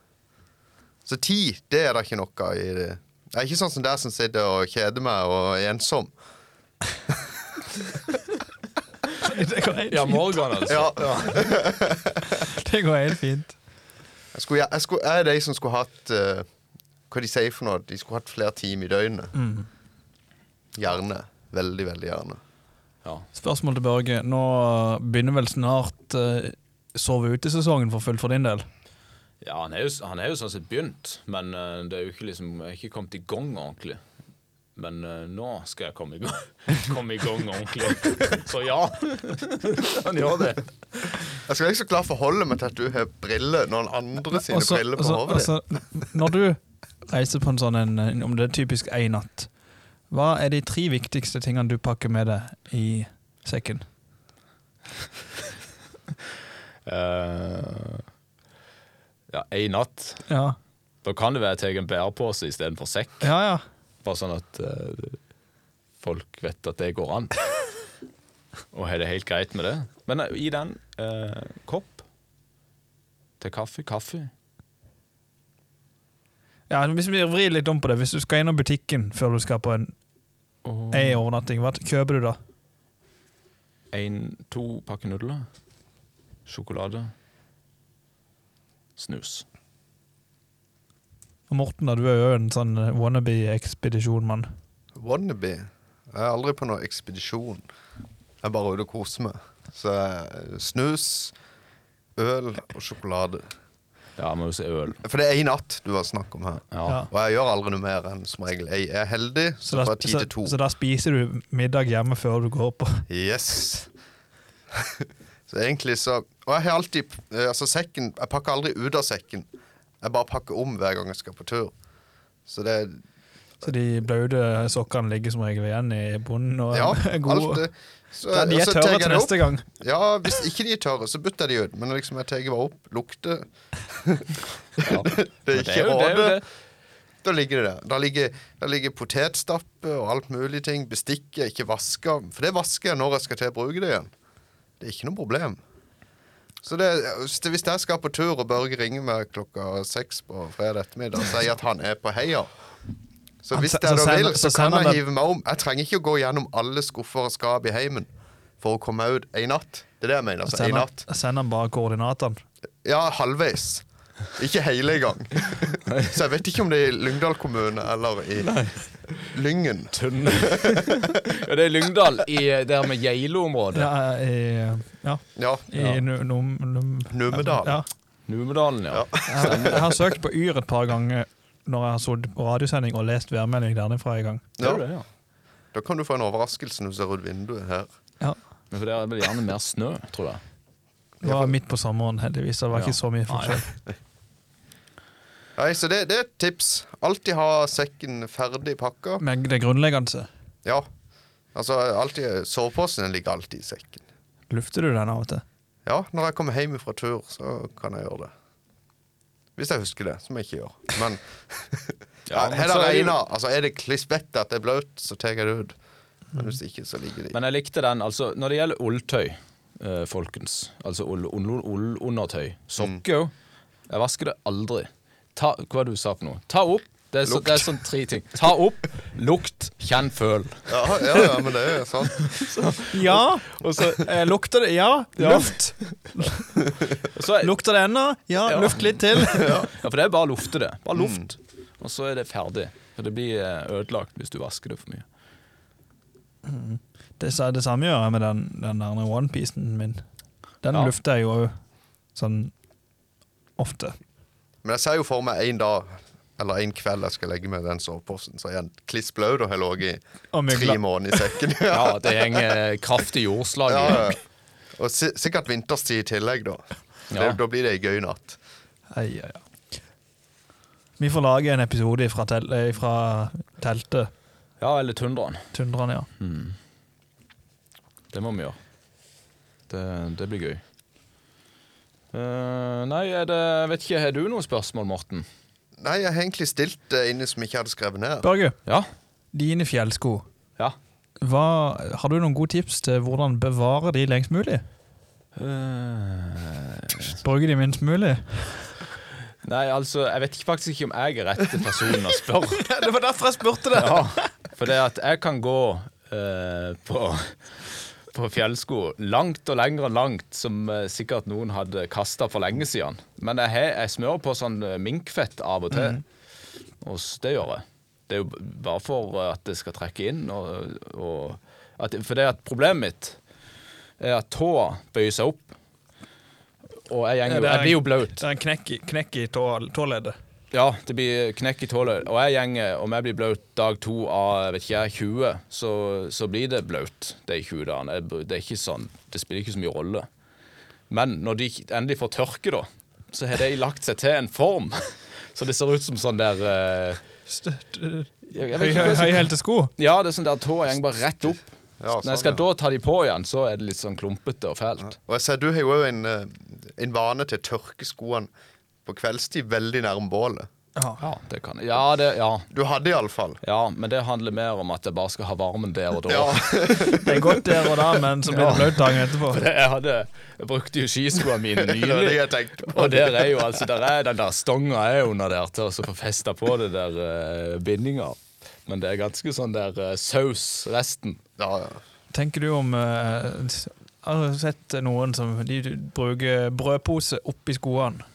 [SPEAKER 3] Så tid, det er det ikke noe i det. Jeg er ikke sånn som deg som sitter og kjeder meg og er ensom.
[SPEAKER 2] Det går helt
[SPEAKER 1] ja,
[SPEAKER 2] fint.
[SPEAKER 1] Morgan, altså.
[SPEAKER 3] Ja,
[SPEAKER 2] Det går helt fint.
[SPEAKER 3] jeg, skulle, jeg, skulle, jeg er de som skulle hatt øh, Hva de sier for noe? De skulle hatt flere timer i døgnet.
[SPEAKER 2] Mm.
[SPEAKER 3] Gjerne. Veldig, veldig gjerne.
[SPEAKER 1] Ja.
[SPEAKER 2] Spørsmål til Børge. Nå begynner vel snart eh, sove ute-sesongen for fullt for din del.
[SPEAKER 1] Ja, han er, jo, han er jo sånn sett begynt, men eh, det er jo ikke liksom Jeg har ikke kommet i gang ordentlig. Men eh, nå skal jeg komme i gang, komme i gang ordentlig. Så ja, han gjør det.
[SPEAKER 3] Jeg skal ikke så klart forholde meg til at du har briller når noen andre sine
[SPEAKER 2] Og så-
[SPEAKER 3] briller
[SPEAKER 2] og
[SPEAKER 3] på
[SPEAKER 2] så-
[SPEAKER 3] hodet ditt.
[SPEAKER 2] og så, Når du reiser på en sånn en, en- om det er typisk én natt, hva er de tre viktigste tingene du pakker med deg i sekken?
[SPEAKER 1] Eh, ja, ei natt.
[SPEAKER 2] Ja,
[SPEAKER 1] Da kan det være jeg tar en bærepose istedenfor sekk.
[SPEAKER 2] ja. ja.
[SPEAKER 1] Bare sånn at eh, folk vet at det går an. Og har det helt greit med det. Men eh, i den eh, kopp til kaffe, kaffe
[SPEAKER 2] ja hvis vi vrir litt om på det, hvis du skal innom butikken før du skal på en
[SPEAKER 1] og
[SPEAKER 2] ei overnatting, hva kjøper du da?
[SPEAKER 1] En, to pakker nudler. Sjokolade. Snus.
[SPEAKER 2] Og Morten, da, du er jo en sånn eh, wannabe-ekspedisjonmann.
[SPEAKER 3] Wannabe. Jeg er aldri på noen ekspedisjon. Jeg er bare ute og koser meg. Så jeg- snus, øl og sjokolade.
[SPEAKER 1] Ja, må jo se øl.
[SPEAKER 3] For det er én natt du har snakk om her.
[SPEAKER 1] Ja.
[SPEAKER 2] Ja.
[SPEAKER 3] Og jeg gjør aldri noe mer enn som regel. Jeg er heldig,
[SPEAKER 2] Så,
[SPEAKER 3] så
[SPEAKER 2] da-
[SPEAKER 3] fra ti til to.
[SPEAKER 2] så, så da spiser du middag hjemme før du går på.
[SPEAKER 3] Yes. så egentlig så Og jeg har alltid eh, Altså, sekken Jeg pakker aldri ut av sekken. Jeg bare pakker om hver gang jeg skal på tur. Så det er
[SPEAKER 2] Så de blaute sokkene ligger som regel igjen i bunnen. Og
[SPEAKER 3] Ja,
[SPEAKER 2] er
[SPEAKER 3] alt eh, altså,
[SPEAKER 2] gode.
[SPEAKER 3] det. Så,
[SPEAKER 2] Da de
[SPEAKER 3] og
[SPEAKER 2] er
[SPEAKER 3] så tar
[SPEAKER 2] tørre
[SPEAKER 3] jeg
[SPEAKER 2] til
[SPEAKER 3] det opp.
[SPEAKER 2] neste gang.
[SPEAKER 3] Ja, hvis ikke de er tørre, så bytter jeg de ut. Men liksom jeg tar bare opp, lukter
[SPEAKER 1] Ja.
[SPEAKER 3] Det
[SPEAKER 1] Men jo-
[SPEAKER 3] er ikke
[SPEAKER 1] det er jo
[SPEAKER 3] rådet.
[SPEAKER 1] det.
[SPEAKER 3] Da ligger det der. Der ligger, der ligger potetstappe og alt mulig ting. Bestikk er ikke vaska. For det vasker jeg når jeg skal til å bruke det igjen. Det er ikke noe problem. Så det, hvis det- hvis jeg skal på tur og Børge ringer meg klokka seks på fredag ettermiddag og sier at han er på heia Så
[SPEAKER 2] Han
[SPEAKER 3] hvis
[SPEAKER 2] se-
[SPEAKER 3] jeg
[SPEAKER 2] så
[SPEAKER 3] da vil,
[SPEAKER 2] sender- så
[SPEAKER 3] så kan
[SPEAKER 2] sender
[SPEAKER 3] jeg
[SPEAKER 2] han-
[SPEAKER 3] hive meg om. Jeg trenger ikke å gå gjennom alle skuffer og skap i heimen for å komme ut ei natt. Det er det jeg mener. Altså, ei
[SPEAKER 2] Send
[SPEAKER 3] natt.
[SPEAKER 2] han, send han bare koordinatene.
[SPEAKER 3] Ja, halvveis. Ikke hele gang. Så jeg vet ikke om det er i Lyngdal kommune eller i Lyngen.
[SPEAKER 1] Ja, det er Lyngdal, i eh, der med Geilo-området.
[SPEAKER 2] Ja, i, ja,
[SPEAKER 3] Ja.
[SPEAKER 2] i
[SPEAKER 1] Ja.
[SPEAKER 2] Nu- num, num,
[SPEAKER 3] Numedal.
[SPEAKER 2] Ja.
[SPEAKER 1] Numedalen, ja.
[SPEAKER 2] Jeg, jeg har søkt på Yr et par ganger når jeg har sittet på radiosending og lest værmelding derfra i gang.
[SPEAKER 1] Det er jo
[SPEAKER 3] Ja.
[SPEAKER 1] det, ja.
[SPEAKER 3] Da kan du få en overraskelse når du ser ut vinduet her.
[SPEAKER 2] Ja.
[SPEAKER 1] Men for der er det vel gjerne mer snø, tror jeg.
[SPEAKER 2] Det var midt på sommeren, heldigvis. så Det var
[SPEAKER 1] Ja.
[SPEAKER 2] ikke så mye forskjell.
[SPEAKER 3] Nei, så det, det er et tips. Alltid ha sekken ferdig pakka.
[SPEAKER 2] Men det grunnleggende
[SPEAKER 3] Ja. Altså, alltid, soveposen den ligger alltid i sekken.
[SPEAKER 2] lufter du den av og til.
[SPEAKER 3] Ja, når jeg kommer hjem fra tur, så kan jeg gjøre det. Hvis jeg husker det, som jeg ikke gjør. Men, ja,
[SPEAKER 1] men
[SPEAKER 3] her
[SPEAKER 1] så
[SPEAKER 3] er det
[SPEAKER 1] er det jo-
[SPEAKER 3] regnet. Altså, er det klissbett at det er blaut, så tar jeg det ut. Men hvis ikke, så ligger det i.
[SPEAKER 1] Men jeg likte den. altså Når det gjelder ulltøy, eh, folkens Altså ull- ull- ullundertøy. Sokker òg. Jeg vasker det aldri. ta, Hva du sa for noe? Ta opp. Det er, så, det er sånn tre ting. Ta opp, lukt, kjenn, føl.
[SPEAKER 3] Ja, ja, ja, men det er sant.
[SPEAKER 2] Ja! eh, lukter det Ja,
[SPEAKER 1] Ja.
[SPEAKER 2] luft.
[SPEAKER 1] Og så er,
[SPEAKER 2] Lukter det ennå? Ja,
[SPEAKER 1] Ja.
[SPEAKER 2] luft litt til.
[SPEAKER 1] ja, for det er bare å lufte det.
[SPEAKER 3] Mm.
[SPEAKER 1] Bare luft. Og så er det ferdig. For det blir eh, ødelagt hvis du vasker det for mye.
[SPEAKER 2] Det, sa- det samme gjør jeg med den, den der onepiecen min. Den
[SPEAKER 1] Ja.
[SPEAKER 2] lufter jeg jo sånn ofte.
[SPEAKER 3] Men jeg ser jo for meg en dag eller en kveld jeg skal legge meg i den soveposen, så er jeg kliss blau og har ligget
[SPEAKER 2] Og
[SPEAKER 3] i
[SPEAKER 2] mygla.
[SPEAKER 3] tre måneder i sekken. Ja,
[SPEAKER 1] Ja, det henger kraftig jordslag
[SPEAKER 3] ja,
[SPEAKER 1] i.
[SPEAKER 3] ja. Og si sikkert vinterstid i tillegg, da. Så
[SPEAKER 1] Ja.
[SPEAKER 3] Det, da blir det ei gøy natt.
[SPEAKER 2] Ai, ai, ai. Vi får lage en episode fra, tel eh, fra teltet.
[SPEAKER 1] Ja, eller tundraen.
[SPEAKER 2] Tundraen, ja.
[SPEAKER 1] Det må vi gjøre. Det, det blir gøy. Eh, nei, er det, jeg vet ikke, har du noen spørsmål, Morten?
[SPEAKER 3] Nei, jeg har egentlig stilt det inne som jeg ikke hadde skrevet ned.
[SPEAKER 2] Børge,
[SPEAKER 1] Ja?
[SPEAKER 2] dine fjellsko.
[SPEAKER 1] Ja.
[SPEAKER 2] Hva, har du noen gode tips til hvordan bevare de lengst mulig? Bruke de minst mulig?
[SPEAKER 1] nei, altså, jeg vet ikke- faktisk ikke om jeg er rette personen å spørre.
[SPEAKER 2] det var derfor jeg spurte det!
[SPEAKER 1] Ja, for det at jeg kan gå eh, på, på fjellsko langt og lenger enn langt, som eh, sikkert noen hadde kasta for lenge siden. Men jeg, har- jeg smører på sånn eh, minkfett av og til.
[SPEAKER 2] Mm.
[SPEAKER 1] Og s- det gjør jeg. Det er jo b- bare for eh, at det skal trekke inn. Og, og at, for det at problemet mitt er at tåa bøyer seg opp. Og jeg,
[SPEAKER 2] Ja,
[SPEAKER 1] gjenger,
[SPEAKER 2] det er
[SPEAKER 1] jeg blir jo
[SPEAKER 2] en-
[SPEAKER 1] blaut.
[SPEAKER 2] Det er en knekk i, knekk i tå, tåleddet.
[SPEAKER 1] Ja, det blir knekk i tålet. Og jeg gjenger, om jeg blir blaut dag to av jeg vet ikke, jeg, 20, så, så blir det blaut de 20 dagene. Jeg br- Det er ikke sånn, det spiller ikke så mye rolle. Men når de ikke- endelig får tørke, da, så har de lagt seg til en form. Så det ser ut som sånn der eh, jeg, jeg vet ikke hva jeg skal-
[SPEAKER 2] Høyhælte sko.
[SPEAKER 1] Ja, det er sånn der tåa går bare rett opp.
[SPEAKER 3] Ja,
[SPEAKER 1] Når jeg skal
[SPEAKER 3] sånn,
[SPEAKER 1] da ta de på igjen, så er det litt sånn klumpete og fælt.
[SPEAKER 3] Og jeg ser du har jo òg en, eh, en vane til å tørke skoene på kveldstid veldig nærme bålet.
[SPEAKER 2] Ja.
[SPEAKER 1] Ja, det kan jeg. Ja, det, ja.
[SPEAKER 3] Du hadde iallfall.
[SPEAKER 1] ja, men det handler mer om at jeg bare skal ha varmen der og da.
[SPEAKER 3] Ja.
[SPEAKER 2] Det er godt der og da, men så blir det blaut dagen etterpå.
[SPEAKER 1] For det- jeg, hadde, jeg brukte jo skiskoene mine
[SPEAKER 3] Det var det
[SPEAKER 1] nylig.
[SPEAKER 3] jeg tenkte på.
[SPEAKER 1] Og der er jo altså, der er den der stonga er under der til å så få festa på det der eh, bindinga. Men det er ganske sånn der eh, saus, resten.
[SPEAKER 3] Ja, ja.
[SPEAKER 2] Tenker du om eh, s- Har du sett noen som de bruker brødpose oppi skoene?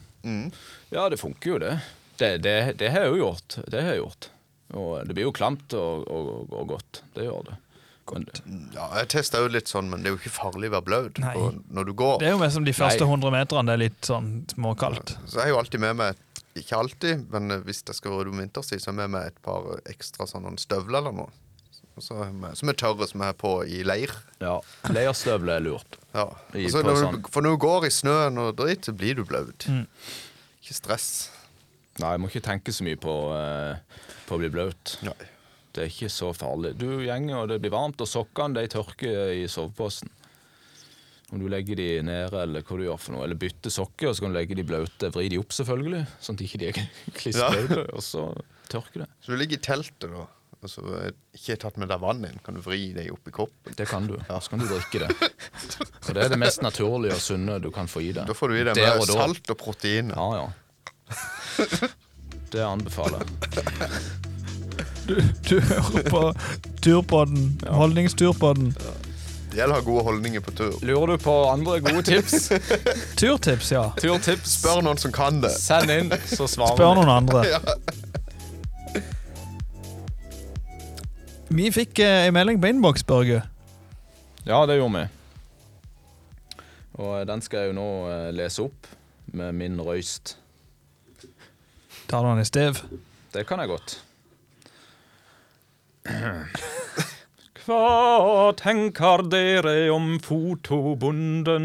[SPEAKER 1] Ja, det funker jo, det. Det, det, det har jeg jo gjort. Det har jeg gjort. Og det blir jo klamt og, og, og godt. Det gjør det. Men,
[SPEAKER 3] ja jeg testa jo litt sånn, men det er jo ikke farlig å være blaut
[SPEAKER 2] Nei.
[SPEAKER 3] på- når du går.
[SPEAKER 2] Det er jo mer som de første
[SPEAKER 1] Nei.
[SPEAKER 2] 100 meterne. Det er litt sånn småkaldt.
[SPEAKER 3] Så jeg har jo alltid med meg Ikke alltid, men eh, hvis jeg skal være ute om vinterstid, så har jeg med meg et par ekstra sånn, noen støvler eller noe. Så- så har jeg med- Som er tørre, som jeg har på i leir.
[SPEAKER 1] ja, leirstøvler er lurt.
[SPEAKER 3] Ja.
[SPEAKER 1] I-
[SPEAKER 3] Og så
[SPEAKER 1] på
[SPEAKER 3] når du,
[SPEAKER 1] sånn.
[SPEAKER 3] for når du går i snøen og drit, så blir du blaut. Ikke stress.
[SPEAKER 1] Nei, jeg må ikke tenke så mye på, eh, på å bli blaut.
[SPEAKER 3] Nei.
[SPEAKER 1] Det er ikke så farlig. Du gjenger, og det blir varmt, og sokkene de tørker i soveposen. Om du legger de nede, eller hva du gjør for noe, eller bytter sokker, og så kan du legge de blaute, vri de opp selvfølgelig, sånn at ikke de ikke
[SPEAKER 3] Ja.
[SPEAKER 1] klistrer blaute, og så tørker det.
[SPEAKER 3] Så du ligger i teltet, da, og så eh, ikke har tatt med deg vann inn, kan du vri deg opp i koppen.
[SPEAKER 1] Det kan du. Så kan du drikke det. Og det er det mest naturlige og sunne du kan få i deg.
[SPEAKER 3] Da får du i deg
[SPEAKER 1] Der
[SPEAKER 3] mer
[SPEAKER 1] og da.
[SPEAKER 3] salt og proteiner.
[SPEAKER 1] Ja, ja. Det anbefaler jeg.
[SPEAKER 2] Du, du hører på turpodden. Holdningsturpodden.
[SPEAKER 3] Det gjelder å ha gode holdninger på tur.
[SPEAKER 1] Lurer du på andre gode tips?
[SPEAKER 2] Turtips, ja.
[SPEAKER 1] Turtips?
[SPEAKER 3] Spør noen som kan det.
[SPEAKER 1] Send inn, så svarer
[SPEAKER 2] Spør
[SPEAKER 1] vi.
[SPEAKER 2] noen andre. Vi fikk eh, en melding på innboks, Børge.
[SPEAKER 1] Ja, det gjorde vi. Og eh, den skal jeg jo nå eh, lese opp med min røyst.
[SPEAKER 2] Tar du den i stev?
[SPEAKER 1] Det kan jeg godt. Hva tenker dere om fotobonden?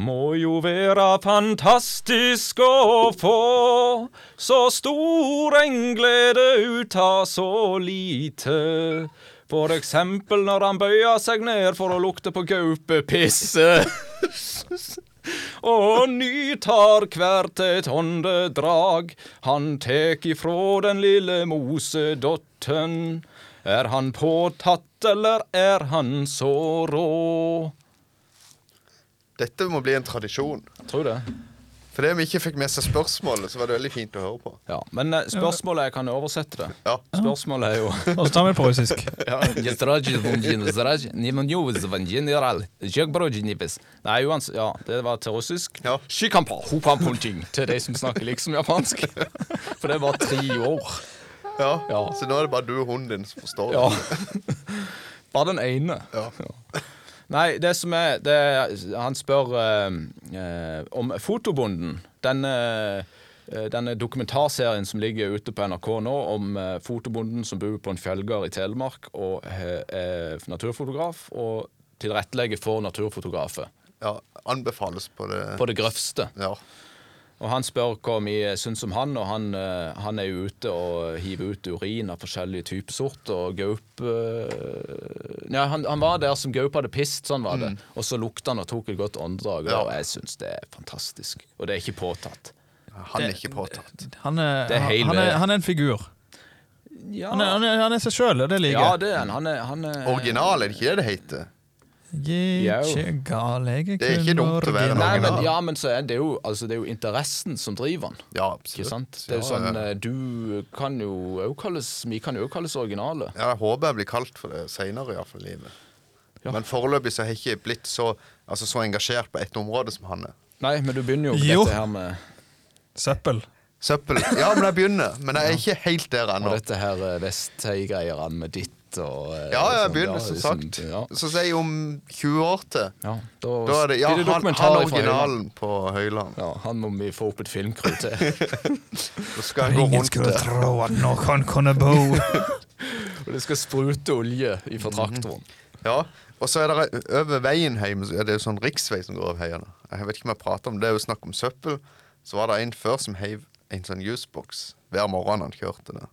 [SPEAKER 1] Må jo være fantastisk å få så stor en glede ut av så lite. For eksempel når han bøyer seg ned for å lukte på gaupepisse. Og nytar hvert et åndedrag han tek ifrå den lille mosedotten. Er han påtatt, eller er han så rå?
[SPEAKER 3] Dette må bli en tradisjon.
[SPEAKER 1] Tror det.
[SPEAKER 3] Fordi vi ikke fikk med seg spørsmålet, så var det veldig fint å høre på.
[SPEAKER 1] Ja, men eh, spørsmålet Jeg kan oversette det.
[SPEAKER 3] Ja.
[SPEAKER 1] Spørsmålet er jo
[SPEAKER 2] Og så tar vi det på russisk.
[SPEAKER 1] Не сразу звонил, сразу не мне звонил генерал. Jack Brody не без. Nei, uans ja, det var til russisk.
[SPEAKER 3] Ja.
[SPEAKER 1] Shikampa, hopampunting, til de som snakker liksom japansk. For det var tre år.
[SPEAKER 3] Ja.
[SPEAKER 1] Ja.
[SPEAKER 3] Så nå er det bare du og hunden din som forstår.
[SPEAKER 1] Ja. Bare den ene.
[SPEAKER 3] Ja.
[SPEAKER 1] Nei, det som er det, er- Han spør eh, eh, om Fotobonden. Denne, eh, denne dokumentarserien som ligger ute på NRK nå, om eh, fotobonden som bor på en fjellgard i Telemark og eh, er naturfotograf, og tilrettelegger for naturfotografer.
[SPEAKER 3] Ja, Anbefales på det.
[SPEAKER 1] På det grøvste.
[SPEAKER 3] Ja.
[SPEAKER 1] Og han spør hva vi syns om han, og han, eh, han er jo ute og hiver ut urin av forskjellige typer sort, og gaup eh, Ja, han, han var der som gaup hadde pist, sånn var det. Og så lukta han og tok et godt åndedrag, og
[SPEAKER 3] Mm. Ja.
[SPEAKER 1] jeg syns det er fantastisk. Og det er ikke påtatt.
[SPEAKER 3] Han er ikke påtatt.
[SPEAKER 2] Han er,
[SPEAKER 1] Det er hele-
[SPEAKER 2] han er, han er en figur.
[SPEAKER 1] Ja,
[SPEAKER 2] Han er, han er, han er seg sjøl, og det liker
[SPEAKER 1] ja
[SPEAKER 2] jeg.
[SPEAKER 1] det er han. Han er, han er
[SPEAKER 3] Original, er det ikke det det heter?
[SPEAKER 2] Gi ikke gal, jeg
[SPEAKER 3] Det er ikke
[SPEAKER 2] kun
[SPEAKER 3] dumt å være
[SPEAKER 2] original.
[SPEAKER 1] Nei, men,
[SPEAKER 3] original.
[SPEAKER 1] ja, men så er det, jo, altså, det er jo interessen som driver han.
[SPEAKER 3] Ja,
[SPEAKER 1] Ikke
[SPEAKER 3] absolutt.
[SPEAKER 1] sant? Det er jo
[SPEAKER 3] Ja,
[SPEAKER 1] sånn,
[SPEAKER 3] ja.
[SPEAKER 1] eh, Du kan jo også kalles Vi kan jo også kalles originale.
[SPEAKER 3] Ja, jeg håper jeg blir kalt for det seinere, iallfall i livet.
[SPEAKER 1] Ja.
[SPEAKER 3] Men foreløpig så har jeg ikke blitt så, altså, så engasjert på ett område som han er.
[SPEAKER 1] Nei, men du begynner jo på
[SPEAKER 2] Jo.
[SPEAKER 1] dette her med
[SPEAKER 2] Søppel.
[SPEAKER 3] Søppel. Ja, men jeg begynner. Men jeg er ikke helt der
[SPEAKER 1] Og
[SPEAKER 3] ennå.
[SPEAKER 1] dette her eh, Vestheie-greiene med ditt og eh,
[SPEAKER 3] Ja, jeg
[SPEAKER 1] sånn,
[SPEAKER 3] begynner,
[SPEAKER 1] ja,
[SPEAKER 3] som
[SPEAKER 1] liksom,
[SPEAKER 3] sagt.
[SPEAKER 1] Ja,
[SPEAKER 3] Så sier jeg om 20 år til.
[SPEAKER 1] ja. Da,
[SPEAKER 3] Da er det, ja,
[SPEAKER 1] blir det
[SPEAKER 3] han, han
[SPEAKER 1] dokumentarer fra Høyland.
[SPEAKER 3] originalen på Høyland.
[SPEAKER 1] Ja, han må vi få opp et filmcrew til.
[SPEAKER 3] Så skal han gå
[SPEAKER 2] Ingen
[SPEAKER 3] rundt
[SPEAKER 2] skulle
[SPEAKER 3] der.
[SPEAKER 2] tro at noen kunne bo
[SPEAKER 1] Og det skal sprute olje ifra
[SPEAKER 3] Mhm.
[SPEAKER 1] traktoren.
[SPEAKER 3] Ja. Og så er det over veien hjemme, så er det jo sånn riksvei som går over heiene. Jeg vet ikke om jeg prater om det, det er jo snakk om søppel. Så var det en før som heiv en sånn juiceboks hver morgen han kjørte der.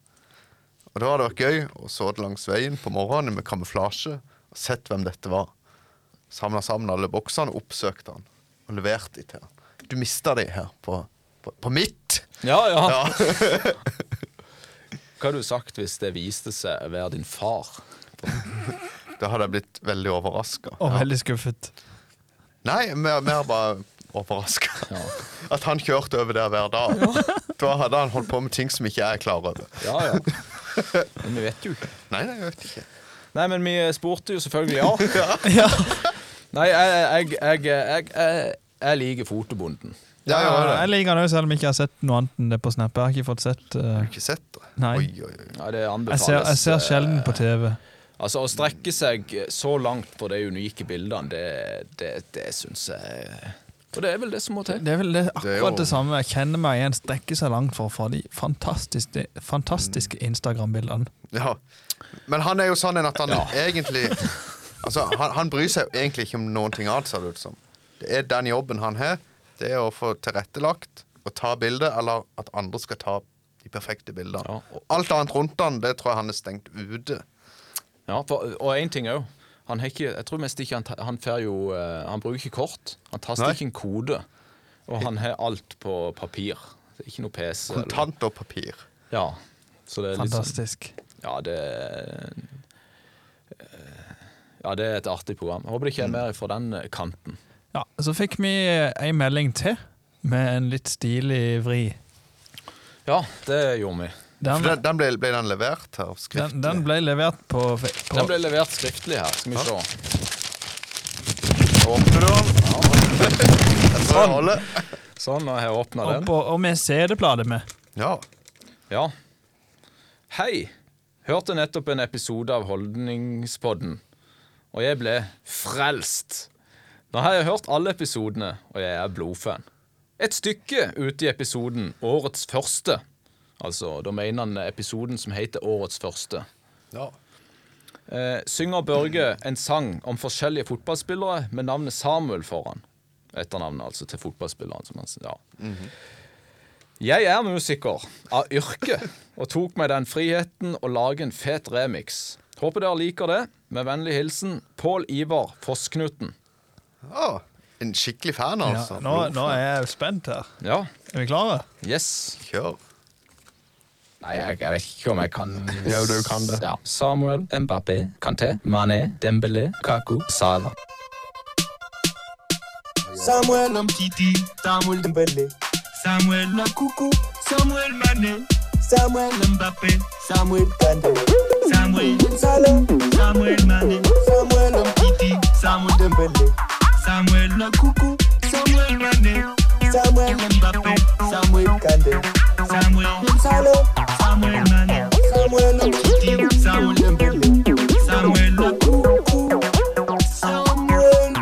[SPEAKER 3] Og da har det vært gøy å så det langs veien på morgenen med kamuflasje og sett hvem dette var. Samla sammen alle boksene, oppsøkte han og leverte de til han. Du mista de her på, på, på mitt!
[SPEAKER 1] Ja, ja.
[SPEAKER 3] Ja.
[SPEAKER 1] Hva hadde du sagt hvis det viste seg å være din far?
[SPEAKER 3] Da hadde jeg blitt veldig overraska.
[SPEAKER 2] og veldig skuffet.
[SPEAKER 3] Nei, mer, mer bare overraska.
[SPEAKER 1] Ja,
[SPEAKER 3] At han kjørte over der hver dag. Da hadde han holdt på med ting som ikke jeg er klar over.
[SPEAKER 1] ja. ja. Men vi vet jo ikke.
[SPEAKER 3] Nei, nei, jeg vet ikke.
[SPEAKER 1] Nei, men vi spurte jo selvfølgelig ja.
[SPEAKER 2] Ja.
[SPEAKER 1] Nei, jeg, jeg, jeg, jeg, jeg, jeg liker fotobonden.
[SPEAKER 3] Ja, ja, ja.
[SPEAKER 2] Eh, Jeg liker den òg, selv om jeg ikke har sett noe annet enn det på Snap. Jeg har ikke fått sett eh,
[SPEAKER 3] Har du ikke sett det?
[SPEAKER 2] Nei.
[SPEAKER 3] Oi, oi, oi.
[SPEAKER 1] Ja, det
[SPEAKER 2] jeg,
[SPEAKER 1] anbefales.
[SPEAKER 2] ser, jeg ser
[SPEAKER 1] eh,
[SPEAKER 2] sjelden på TV.
[SPEAKER 1] Altså Å strekke seg så langt på de unike bildene, det, det, det syns jeg Og det er vel det som må til.
[SPEAKER 2] Det er vel det,
[SPEAKER 3] Det er jo-
[SPEAKER 2] akkurat det samme. Jeg kjenner meg igjen strekke seg langt for å få de fantastiske, fantastiske
[SPEAKER 3] Mm.
[SPEAKER 2] Instagram-bildene.
[SPEAKER 3] Ja. Men han er jo sånn en at han
[SPEAKER 1] Ja.
[SPEAKER 3] egentlig Altså, han, han bryr seg jo egentlig ikke om noen ting annet, ser det ut som. Det er den jobben han har. Det er å få tilrettelagt og ta bilder, eller at andre skal ta de perfekte bildene.
[SPEAKER 1] Ja.
[SPEAKER 3] Og Alt annet rundt han, det tror jeg han er stengt ute.
[SPEAKER 1] Ja, for, og én ting òg. Han har ikke Jeg tror mest ikke han, ta- han får jo eh, Han bruker ikke kort. Han taster
[SPEAKER 3] Nei.
[SPEAKER 1] ikke en kode. Og han har alt på papir. Det er ikke noe PC. eller-
[SPEAKER 3] Kontant og papir.
[SPEAKER 1] Ja. Så det er litt sånn
[SPEAKER 2] Fantastisk.
[SPEAKER 1] Ja, det er- Ja, det er et artig program. Jeg håper det ikke er mer fra den eh, kanten.
[SPEAKER 2] Ja, Så fikk vi ei melding til med en litt stilig vri.
[SPEAKER 1] Ja, det gjorde vi.
[SPEAKER 2] Den,
[SPEAKER 3] For den, den ble, ble den levert her skriftlig?
[SPEAKER 2] den, den ble levert på, på
[SPEAKER 1] Den ble levert skriftlig her. Skal vi se.
[SPEAKER 3] Åpner du den? Jeg tror jeg holder.
[SPEAKER 1] Sånn, og jeg har åpna
[SPEAKER 2] og,
[SPEAKER 1] den.
[SPEAKER 2] på, og med CD-plate med.
[SPEAKER 3] Ja.
[SPEAKER 1] Ja. Hei! Hørte nettopp en episode av Holdningspodden, og jeg ble frelst. Nå har jeg hørt alle episodene, og jeg er blodfan. Et stykke ute i episoden Årets første. Altså, da mener han episoden som heter Årets første.
[SPEAKER 3] ja.
[SPEAKER 1] Eh, synger Børge en sang om forskjellige fotballspillere med navnet Samuel foran. Etternavnet altså til fotballspilleren. Som han, s- ja. Jeg er musiker av yrke og tok meg den friheten å lage en fet remix. Håper dere liker det. Med vennlig hilsen Pål Ivar Fossknuten.
[SPEAKER 3] Ah, en skikkelig fan,
[SPEAKER 2] Ja,
[SPEAKER 3] altså.
[SPEAKER 2] nå, nå er jeg spent her.
[SPEAKER 1] Ja.
[SPEAKER 2] Er vi klare?
[SPEAKER 1] Yes.
[SPEAKER 3] Kjør.
[SPEAKER 1] Nei, jeg, jeg vet ikke om jeg kan
[SPEAKER 3] Ja, du kan det.
[SPEAKER 1] Ja. Samuel Mbappé, Kanté, Mané, Dembélé, Kaku, Salah.
[SPEAKER 4] Samuel Umtiti, Samuel Dembele, Samuel Makuku, Samuel Mané, Samuel Mbappé, Samuel Kanté, Samuel Salah, Samuel Mané, Samuel Mtiti, Samuel Dembélé, Samuel Makuku, Samuel Mané, Samuel Mbappé, Samuel Kanté, Samuel Salah, Samuel Mané, Samuel Mtiti, Samuel Dembélé, Samuel Makuku, Samuel Mané.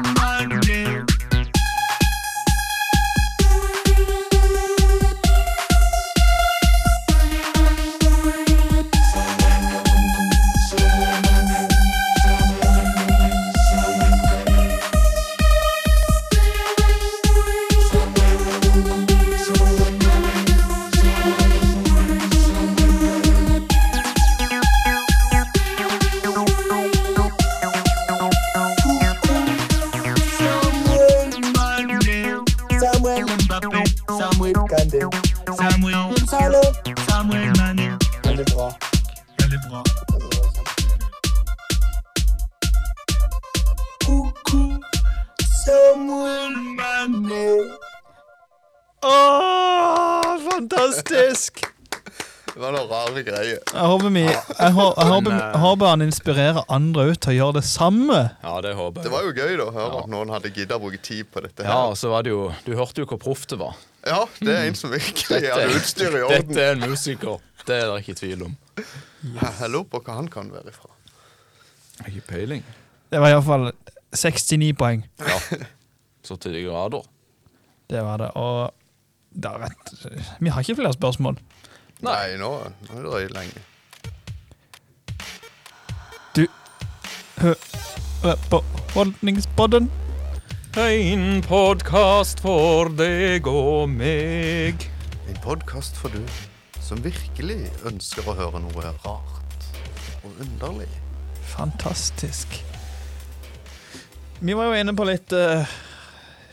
[SPEAKER 4] Samuel Mbappé, Samuel Kandé, Samuel Salah, Samuel Mané. Elle est bras. Elle est bras. Coucou, Samuel Mané.
[SPEAKER 2] Åh, fantastisk!
[SPEAKER 3] Det var noen rare greier.
[SPEAKER 2] Jeg håper, vi, jeg, hå- jeg håper, jeg håper han inspirerer andre ut til å gjøre det samme.
[SPEAKER 1] Ja, det håper
[SPEAKER 3] Det
[SPEAKER 1] jeg.
[SPEAKER 3] var jo gøy da, å høre at noen hadde giddet å bruke tid på dette.
[SPEAKER 1] Ja,
[SPEAKER 3] her.
[SPEAKER 1] og så var det jo Du hørte jo hvor proft det var.
[SPEAKER 3] Ja, det er en som virkelig hadde utstyret i
[SPEAKER 1] Dette
[SPEAKER 3] orden.
[SPEAKER 1] er en musiker. Det er det ikke tvil om.
[SPEAKER 3] Jeg lurer på hva han kan være ifra.
[SPEAKER 1] Ikke peiling.
[SPEAKER 2] Det var iallfall 69 poeng.
[SPEAKER 1] Ja. Så til de grader.
[SPEAKER 2] Det var det. Og det er rett. Vi har ikke flere spørsmål.
[SPEAKER 3] Nei, nå, nå er det drøyt lenge.
[SPEAKER 2] Du hører på Holdningspodden.
[SPEAKER 1] En podkast for deg og meg.
[SPEAKER 3] En podkast for du som virkelig ønsker å høre noe rart og underlig.
[SPEAKER 2] Fantastisk. Vi var jo inne på litt eh,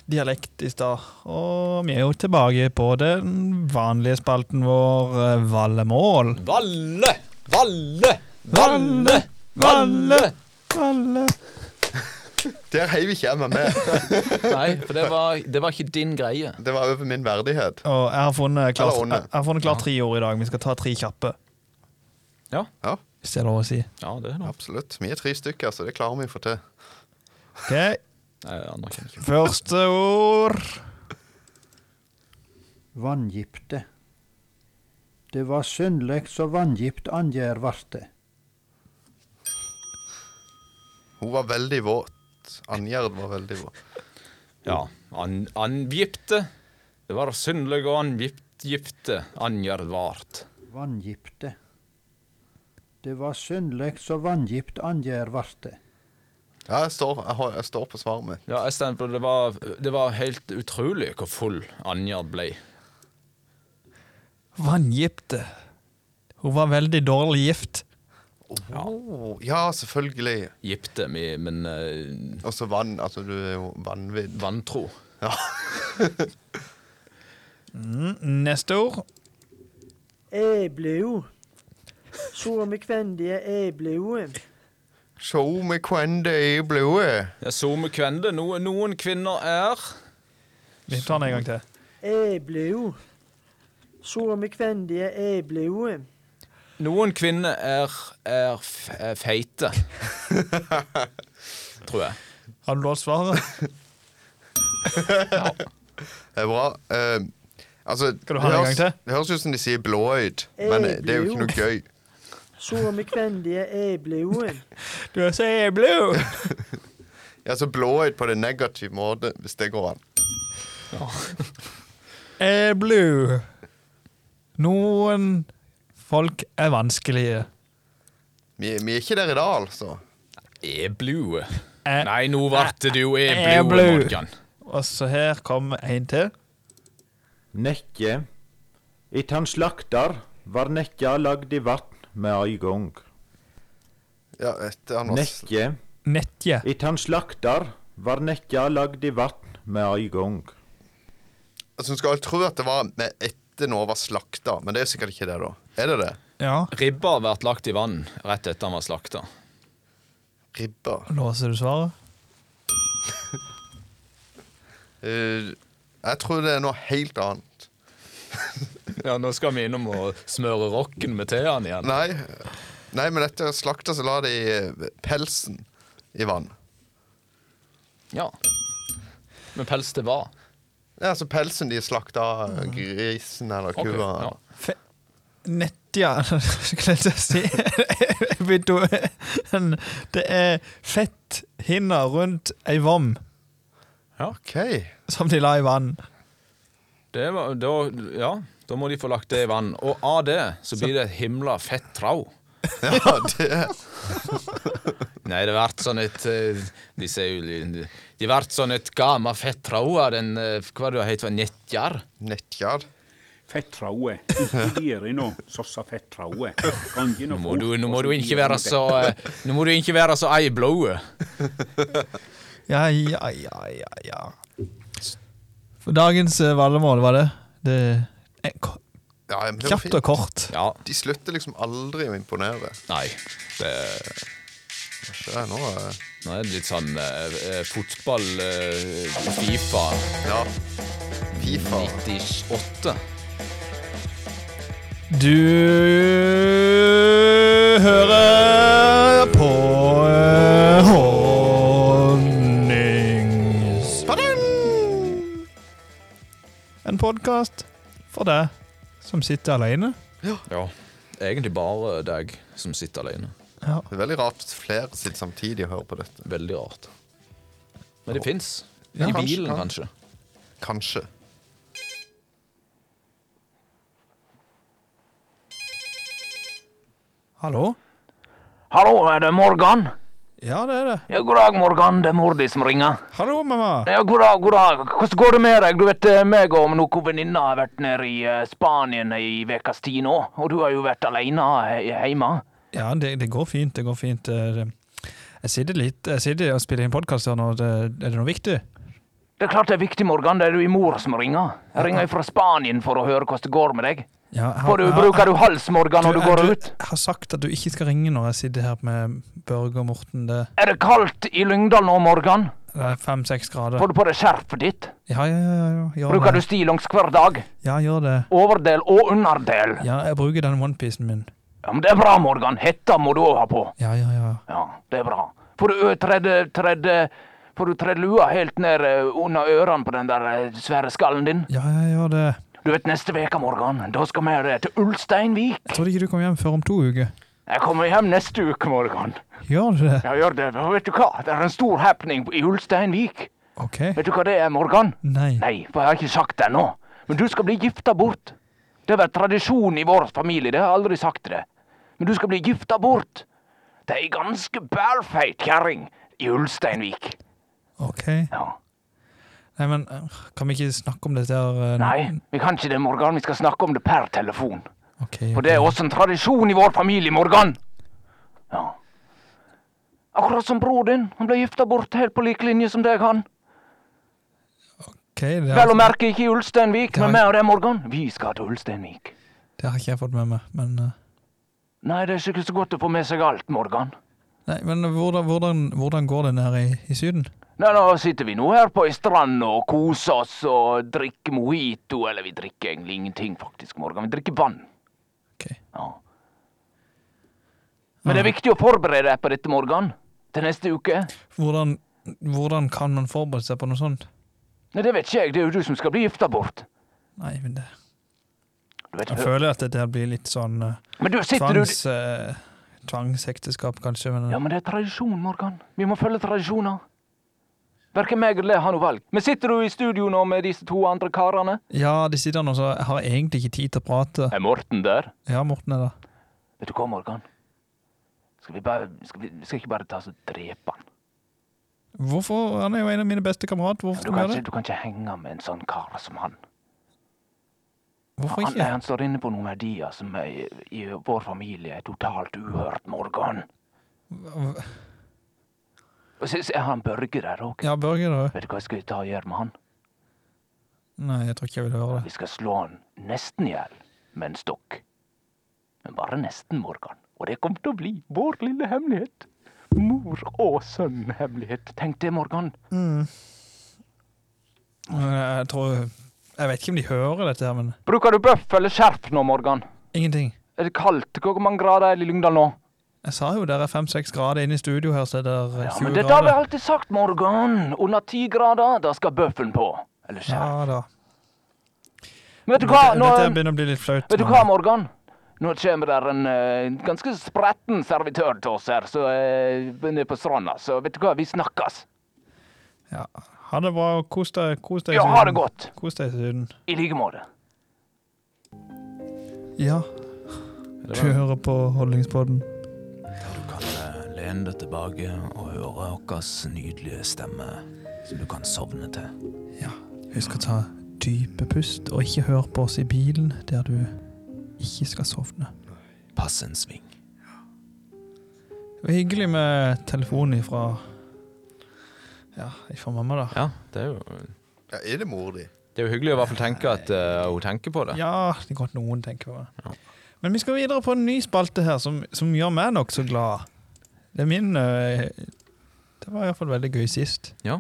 [SPEAKER 2] dialekt i stad, og vi er jo tilbake på den vanlige spalten vår, uh, Vallemål.
[SPEAKER 1] Valle! Valle! Valle! Valle!
[SPEAKER 2] Valle.
[SPEAKER 3] Der heiv ikke jeg meg med.
[SPEAKER 1] Nei, for det var, det var ikke din greie.
[SPEAKER 3] Det var over min verdighet.
[SPEAKER 2] Og jeg har funnet klart,
[SPEAKER 3] Eller onde.
[SPEAKER 2] jeg, jeg har funnet klart tre ord i dag. Vi skal ta tre kjappe,
[SPEAKER 1] Ja,
[SPEAKER 3] Ja,
[SPEAKER 2] hvis det er lov å si.
[SPEAKER 1] ja det er noe.
[SPEAKER 3] absolutt. Vi er tre stykker, så det klarer vi å få til.
[SPEAKER 2] Ok,
[SPEAKER 1] Nei, andre kan ikke.
[SPEAKER 2] Første ord
[SPEAKER 5] Vanngipte. Det var synleg så vanngipt Andjær varte.
[SPEAKER 3] Hun var veldig våt. Angjerd var veldig våt.
[SPEAKER 1] Ja. An, angipte. Det var syndelig og angipte. Angervart.
[SPEAKER 5] Vanngipte. Det var synleg så vanngipt Andjær varte.
[SPEAKER 3] Ja, jeg står, jeg, har, jeg står på svaret mitt.
[SPEAKER 1] Ja, jeg stemmer på det. Det var, det var helt utrolig hvor full Anjard ble.
[SPEAKER 2] Vanngipte. Hun var veldig dårlig gift.
[SPEAKER 3] Oh, ja, selvfølgelig.
[SPEAKER 1] Gipte, mi- men eh,
[SPEAKER 3] Og så vann. Altså, du er jo vanvidd.
[SPEAKER 1] vantro.
[SPEAKER 3] Ja.
[SPEAKER 2] Mm, Neste ord.
[SPEAKER 6] Jeg ble jo så omkvendige jeg ble jo.
[SPEAKER 3] Sjå meg kven det er i blodet.
[SPEAKER 1] Jeg zoomer kvende. Noe, noen kvinner er
[SPEAKER 2] Vi tar den en gang til.
[SPEAKER 6] Jeg ble jo så omkvendige jeg ble jo.
[SPEAKER 1] Noen kvinner er, er, f- er feite. Tror jeg.
[SPEAKER 2] Har du lov til å svare?
[SPEAKER 3] Det er bra. Eh, altså,
[SPEAKER 2] Skal du ha det en gang til?
[SPEAKER 3] det høres ut som de sier blåøyd, men
[SPEAKER 6] Eh,
[SPEAKER 3] det er jo ikke noe gøy.
[SPEAKER 6] Så omkvendige jeg ble jo.
[SPEAKER 2] Du er så blå!
[SPEAKER 3] Altså blåøyd på den negative måte, hvis det går an.
[SPEAKER 2] Er blå. Noen folk er vanskelige.
[SPEAKER 3] Vi, vi er ikke der i dag, altså.
[SPEAKER 1] E-blue.
[SPEAKER 2] Eh,
[SPEAKER 1] Nei, nå ble det jo
[SPEAKER 2] eh,
[SPEAKER 1] e-blue,
[SPEAKER 2] blue.
[SPEAKER 1] Morgan.
[SPEAKER 2] Og så her kommer en til.
[SPEAKER 7] Nekke. Itt han slaktar, var nekka lagd i vatn med ei gong.
[SPEAKER 3] Ja, et, han var s-
[SPEAKER 7] Nekke.
[SPEAKER 2] Netje.
[SPEAKER 7] Itt han slaktar, var nekka lagd i vatn med ei gong.
[SPEAKER 3] altså, Hun skal tro at det var med etter noe var slakta, men det er sikkert ikke det, da. Er det det?
[SPEAKER 2] Ja.
[SPEAKER 1] Ribba har vært lagt i vann rett etter han var slakta.
[SPEAKER 3] Ribba.
[SPEAKER 2] Låser du svaret?
[SPEAKER 3] Eh, jeg tror det er noe helt annet.
[SPEAKER 1] Ja, nå skal vi innom og smøre rocken med teen igjen.
[SPEAKER 3] Nei, nei men etter å slakte så la de eh, pelsen i vann.
[SPEAKER 1] Ja. Med pels til hva?
[SPEAKER 3] Ja, altså pelsen de slakta av grisen eller
[SPEAKER 1] Ok,
[SPEAKER 3] kua.
[SPEAKER 1] ja.
[SPEAKER 2] Nettja, skulle jeg til å si. Jeg begynte å- Men Det er fetthinner rundt ei vom
[SPEAKER 3] OK.
[SPEAKER 2] som de la i vann.
[SPEAKER 1] Det var, da, ja, da må de få lagt det i vann. Og av det så blir det et himla fett trau.
[SPEAKER 3] Ja, det
[SPEAKER 1] Nei, det vært sånn et eh, De sier jo li- De vært sånn et gamma fett trau av den eh, Hva det heter det? Netjar?
[SPEAKER 3] Nettjar.
[SPEAKER 8] Fettraue. Gir nå, sossa fettraue. Kan ikke
[SPEAKER 1] Nå
[SPEAKER 8] noe
[SPEAKER 1] må du,
[SPEAKER 8] fort,
[SPEAKER 1] nå
[SPEAKER 8] og
[SPEAKER 1] må
[SPEAKER 8] så
[SPEAKER 1] du
[SPEAKER 8] gir
[SPEAKER 1] ikke
[SPEAKER 8] han
[SPEAKER 1] være
[SPEAKER 8] det.
[SPEAKER 1] så eh, Nå må du ikke være så ei blowe.
[SPEAKER 2] Ja, ja, ja, ja, ja. For dagens eh, valgmål, var det? Det eh, ko-
[SPEAKER 3] Ja, men det var
[SPEAKER 2] Kjapt og
[SPEAKER 3] fint.
[SPEAKER 2] kort.
[SPEAKER 1] Ja.
[SPEAKER 3] De slutter liksom aldri å imponere.
[SPEAKER 1] Nei. Det,
[SPEAKER 3] Det er nå eh,
[SPEAKER 1] nå er det litt sånn eh, eh, fotball eh, Fifa
[SPEAKER 3] Ja. Fifa.
[SPEAKER 1] 98.
[SPEAKER 2] Du hører på eh, Honningspadden. En podkast for deg som sitter alene.
[SPEAKER 1] Ja. Egentlig bare deg som sitter alene.
[SPEAKER 3] Det er veldig rart hvis flere sitter samtidig og hører på dette.
[SPEAKER 1] Veldig rart. Men det fins. I
[SPEAKER 3] Ja, kanskje,
[SPEAKER 1] bilen,
[SPEAKER 3] ja.
[SPEAKER 1] kanskje.
[SPEAKER 3] Kanskje.
[SPEAKER 2] Hallo?
[SPEAKER 9] Hallo, er det Morgan?
[SPEAKER 2] Ja, det er det.
[SPEAKER 9] Ja, god dag, Morgan. Det er Mordi som ringer.
[SPEAKER 2] Hallo, mamma.
[SPEAKER 9] Ja, god dag, god dag. Hvordan går det med deg? Du vet, eh, meg og noen venninner har vært nede i eh, Spanien i vekas tid nå, og du har jo vært alene he- hjemme.
[SPEAKER 2] Ja, det, det går fint. Det går fint. Det- det- Jeg sitter, litt, jeg sitter og spiller inn podkast her nå. Det, er det noe viktig?
[SPEAKER 9] Det er klart det er viktig, Morgan. Det er du i mor som ringer. Jeg ringer fra Spanien for å høre hvordan det går med deg.
[SPEAKER 2] Ja, jeg har-
[SPEAKER 9] Får du,
[SPEAKER 2] jeg har-
[SPEAKER 9] bruker du hals, Morgan, når du går
[SPEAKER 2] jeg,
[SPEAKER 9] ut?
[SPEAKER 2] jeg har sagt at du ikke skal ringe når jeg sitter her med Børge og Morten. Det
[SPEAKER 9] Er det kaldt i Lyngdal nå, Morgan?
[SPEAKER 2] det er fem-seks grader.
[SPEAKER 9] Får du på deg skjerfet ditt?
[SPEAKER 2] Ja, ja, ja, ja, ja. Gjør
[SPEAKER 9] Bruker du
[SPEAKER 2] det.
[SPEAKER 9] stillongs hver dag?
[SPEAKER 2] Ja, gjør det.
[SPEAKER 9] Overdel og underdel?
[SPEAKER 2] Ja, jeg bruker den onepiecen min.
[SPEAKER 9] Ja, men det er bra, Morgan. Hetta må du òg ha på.
[SPEAKER 2] Ja, ja, ja.
[SPEAKER 9] Ja, det er bra. Får du ø- tredde, tredde Får du tredd lua helt ned ø, under ørene på den der ø, svære skallen din?
[SPEAKER 2] Ja, jeg gjør det.
[SPEAKER 9] Du vet, neste veke, Morgan, da skal vi ø, til Ulsteinvik.
[SPEAKER 2] Jeg trodde ikke du kom hjem før om to uker.
[SPEAKER 9] Jeg kommer hjem neste uke, Morgan.
[SPEAKER 2] Gjør du det?
[SPEAKER 9] Ja, gjør det. Og vet du hva? Det er en stor happening i Ulsteinvik.
[SPEAKER 2] Ok.
[SPEAKER 9] Vet du hva det er, Morgan?
[SPEAKER 2] Nei.
[SPEAKER 9] Nei, for jeg har ikke sagt det ennå. Men du skal bli gifta bort. Det har vært tradisjon i vår familie, det har jeg aldri sagt til deg. Men du skal bli gifta bort. Det er ei ganske bælfeit kjerring i Ulsteinvik.
[SPEAKER 2] Ok.
[SPEAKER 9] Ja.
[SPEAKER 2] Nei, men øh, kan vi ikke snakke om dette her? øh,
[SPEAKER 9] Nei, vi kan ikke det, Morgan. Vi skal snakke om det per telefon.
[SPEAKER 2] Ok.
[SPEAKER 9] For det er også en tradisjon i vår familie, Morgan. Ja. Akkurat som bror din. Han ble gifta bort helt på lik linje som deg, han.
[SPEAKER 2] ok, det har,
[SPEAKER 9] Vel å merke ikke i Ulsteinvik,
[SPEAKER 2] Det har-
[SPEAKER 9] men meg og deg, Morgan, vi skal til Ulsteinvik.
[SPEAKER 2] det har ikke jeg fått med meg. Men, øh,
[SPEAKER 9] Nei, det er ikke så godt å få med seg alt, Morgan.
[SPEAKER 2] nei, men hvordan, hvordan, hvordan går den her i, i Syden?
[SPEAKER 9] Nei, nå sitter vi nå her på ei strand og koser oss og drikker mojito. Eller vi drikker egentlig ingenting, faktisk, Morgan. Vi drikker vann.
[SPEAKER 2] Ok.
[SPEAKER 9] Ja. Men det er viktig å forberede deg på dette, Morgan. Til neste uke.
[SPEAKER 2] Hvordan, hvordan kan man forberede seg på noe sånt?
[SPEAKER 9] Nei, det vet ikke jeg. Det er jo du som skal bli gifta bort.
[SPEAKER 2] Nei, men det...
[SPEAKER 9] Du vet,
[SPEAKER 2] Jeg føler at dette her blir litt sånn øh,
[SPEAKER 9] men du, sitter
[SPEAKER 2] tvangs,
[SPEAKER 9] du
[SPEAKER 2] øh, tvangsekteskap, kanskje. Men, øh,
[SPEAKER 9] Ja, men det er tradisjon, Morgan. Vi må følge tradisjoner. Verken meg eller deg har noe valg. Men sitter du i studio nå med disse to andre karene?
[SPEAKER 2] Ja, de sitter nå, så jeg har egentlig ikke tid til å prate.
[SPEAKER 9] Er Morten der?
[SPEAKER 2] Ja, Morten er der.
[SPEAKER 9] Vet du hva, Morgan? Skal vi bare Skal vi skal ikke bare ta oss og drepe han?
[SPEAKER 2] Hvorfor? Han er jo en av mine beste kamerater. Hvorfor skal
[SPEAKER 9] Du
[SPEAKER 2] vi
[SPEAKER 9] kan,
[SPEAKER 2] gjøre
[SPEAKER 9] ikke,
[SPEAKER 2] det?
[SPEAKER 9] du kan ikke henge med en sånn kar som han.
[SPEAKER 2] Hvorfor
[SPEAKER 9] Han, nei,
[SPEAKER 2] ikke?
[SPEAKER 9] han står inne på noen verdier som er, i vår familie er totalt uhørt, Morgan. Og så så er han Børge der òg.
[SPEAKER 2] Ja, Børge, da?
[SPEAKER 9] Vet du hva jeg skal ta og gjøre med han?
[SPEAKER 2] Nei, jeg tror ikke jeg vil høre det.
[SPEAKER 9] Vi skal slå han nesten i hjel med en stokk. Men bare nesten, Morgan. Og det kommer til å bli vår lille hemmelighet. Mor og sønn-hemmelighet. Tenk det, Morgan.
[SPEAKER 2] Men Jeg tror Jeg vet ikke om de hører dette, her, men
[SPEAKER 9] Bruker du bøff eller skjerf nå, Morgan?
[SPEAKER 2] ingenting.
[SPEAKER 9] Er det kaldt? Hvor mange grader er det i Lyngdal nå?
[SPEAKER 2] Jeg sa jo dere er fem-seks grader inne i studio her, så er det er
[SPEAKER 9] Ja,
[SPEAKER 2] 20
[SPEAKER 9] men dette har vi
[SPEAKER 2] grader.
[SPEAKER 9] alltid sagt, Morgan. Under ti grader, da skal bøffen på. Eller
[SPEAKER 2] Ja
[SPEAKER 9] skjerf.
[SPEAKER 2] da.
[SPEAKER 9] Men vet du hva?
[SPEAKER 2] Dette,
[SPEAKER 9] Nå,
[SPEAKER 2] dette begynner å bli litt flaut.
[SPEAKER 9] vet du
[SPEAKER 2] men-
[SPEAKER 9] hva, Morgan? Nå kommer der en eh, ganske spretten servitør til oss her, så eh, nede på stranda. Så vet du hva, vi snakkes.
[SPEAKER 2] Ja. Ha det bra, og kos deg. Kos deg i
[SPEAKER 9] Ja, ha det
[SPEAKER 2] Syden.
[SPEAKER 9] godt.
[SPEAKER 2] Kos deg i Syden.
[SPEAKER 9] I like måte.
[SPEAKER 2] Ja, du hører på Holdningspodden.
[SPEAKER 1] Len deg tilbake og høre vår nydelige stemme, som du kan sovne til.
[SPEAKER 2] Husk å ta dype pust, og ikke hør på oss i bilen der du ikke skal sovne.
[SPEAKER 1] Pass en sving.
[SPEAKER 2] Det var hyggelig med telefonen ifra Ja, ifra mamma, da.
[SPEAKER 1] Ja, det er jo,
[SPEAKER 3] Ja, er det mor di?
[SPEAKER 1] det er jo hyggelig å i hvert fall tenke at eh, hun tenker på det.
[SPEAKER 2] Ja, det er godt noen tenker på det. Men vi skal videre på en ny spalte her som, som gjør meg nokså glad. Det er min øh, Det var iallfall veldig gøy sist.
[SPEAKER 1] Ja.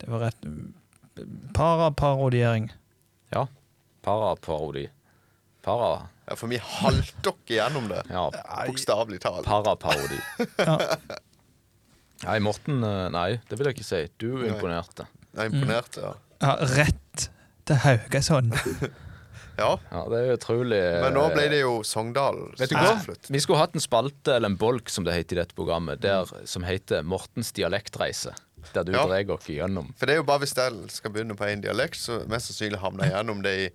[SPEAKER 2] Det var rett Para-parodiering.
[SPEAKER 1] Ja. Paraparodi. Para...
[SPEAKER 3] Ja, For vi halter dere gjennom det.
[SPEAKER 1] Ja,
[SPEAKER 3] Bokstavelig talt.
[SPEAKER 1] paraparodi.
[SPEAKER 2] Ja.
[SPEAKER 1] Nei, Morten eh, Nei, det vil jeg ikke si. Du imponerte.
[SPEAKER 3] Jeg er imponert, ja.
[SPEAKER 2] Ja, rett til Haugesund.
[SPEAKER 3] ja.
[SPEAKER 1] Ja, det er utrolig eh,
[SPEAKER 3] Men nå ble det jo Sogndal.
[SPEAKER 1] Vet du
[SPEAKER 3] som
[SPEAKER 1] hva?
[SPEAKER 3] flyttet.
[SPEAKER 1] Vi skulle hatt en spalte, eller en bolk som det heter i dette programmet, der, som heter Mortens dialektreise. Der du
[SPEAKER 3] Ja.
[SPEAKER 1] drar oss gjennom.
[SPEAKER 3] For det er jo bare hvis jeg skal begynne på én dialekt, så mest sannsynlig havner jeg gjennom det i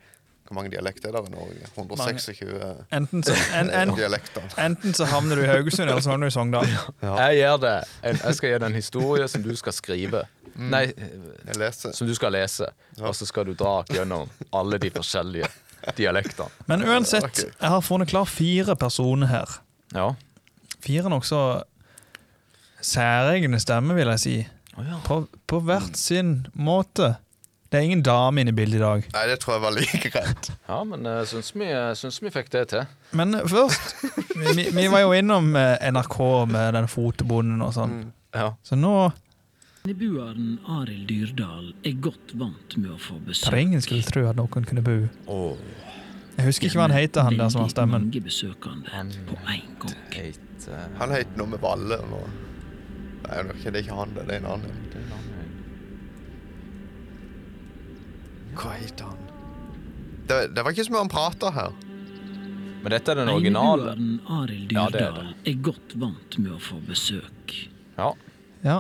[SPEAKER 3] Hvor mange dialekter er det i Norge? 126
[SPEAKER 2] Enten så, en, en,
[SPEAKER 3] dialekter.
[SPEAKER 2] enten så havner du i Haugesund, eller så havner du i Sogndal.
[SPEAKER 1] Jeg gjør det. Jeg jeg skal gi deg en historie som du skal skrive. Nei, eh,
[SPEAKER 3] Jeg leser.
[SPEAKER 1] som du skal lese. Og så skal du dra gjennom alle de forskjellige dialektene.
[SPEAKER 2] Men uansett,
[SPEAKER 3] Ok.
[SPEAKER 2] jeg har funnet klar fire personer her.
[SPEAKER 1] Ja.
[SPEAKER 2] Fire nokså særegne stemmer, vil jeg si. På, på hvert sin måte. Det er ingen dame inne i bildet i dag.
[SPEAKER 3] Nei, det tror jeg var like greit.
[SPEAKER 1] ja, men jeg syns vi, jeg syns vi fikk det til.
[SPEAKER 2] Men først Vi, vi var jo innom eh, NRK med den fotebonden og sånn.
[SPEAKER 1] Mm, Ja.
[SPEAKER 2] Så nå
[SPEAKER 10] Nebuaren Arild Dyrdal er godt vant med å få besøk.
[SPEAKER 2] tror jeg ingen skulle tro at noen kunne bo.
[SPEAKER 1] Åh,
[SPEAKER 2] Jeg husker ikke hva han heter, han der som har stemmen.
[SPEAKER 10] Veldig mange besøkende på en gang.
[SPEAKER 1] heit, eh,
[SPEAKER 3] Han het noe med Valle nå. Nei, det er ikke- det er ikke han, det er en annen.
[SPEAKER 1] det er en annen
[SPEAKER 3] Hva het han? Det, det var ikke så mye han prata her.
[SPEAKER 1] høy. Men dette er den originale.
[SPEAKER 10] Einebuaren Arild
[SPEAKER 1] Ja, det er
[SPEAKER 10] Dyrdal er godt vant med å få besøk.
[SPEAKER 1] Ja.
[SPEAKER 2] Ja.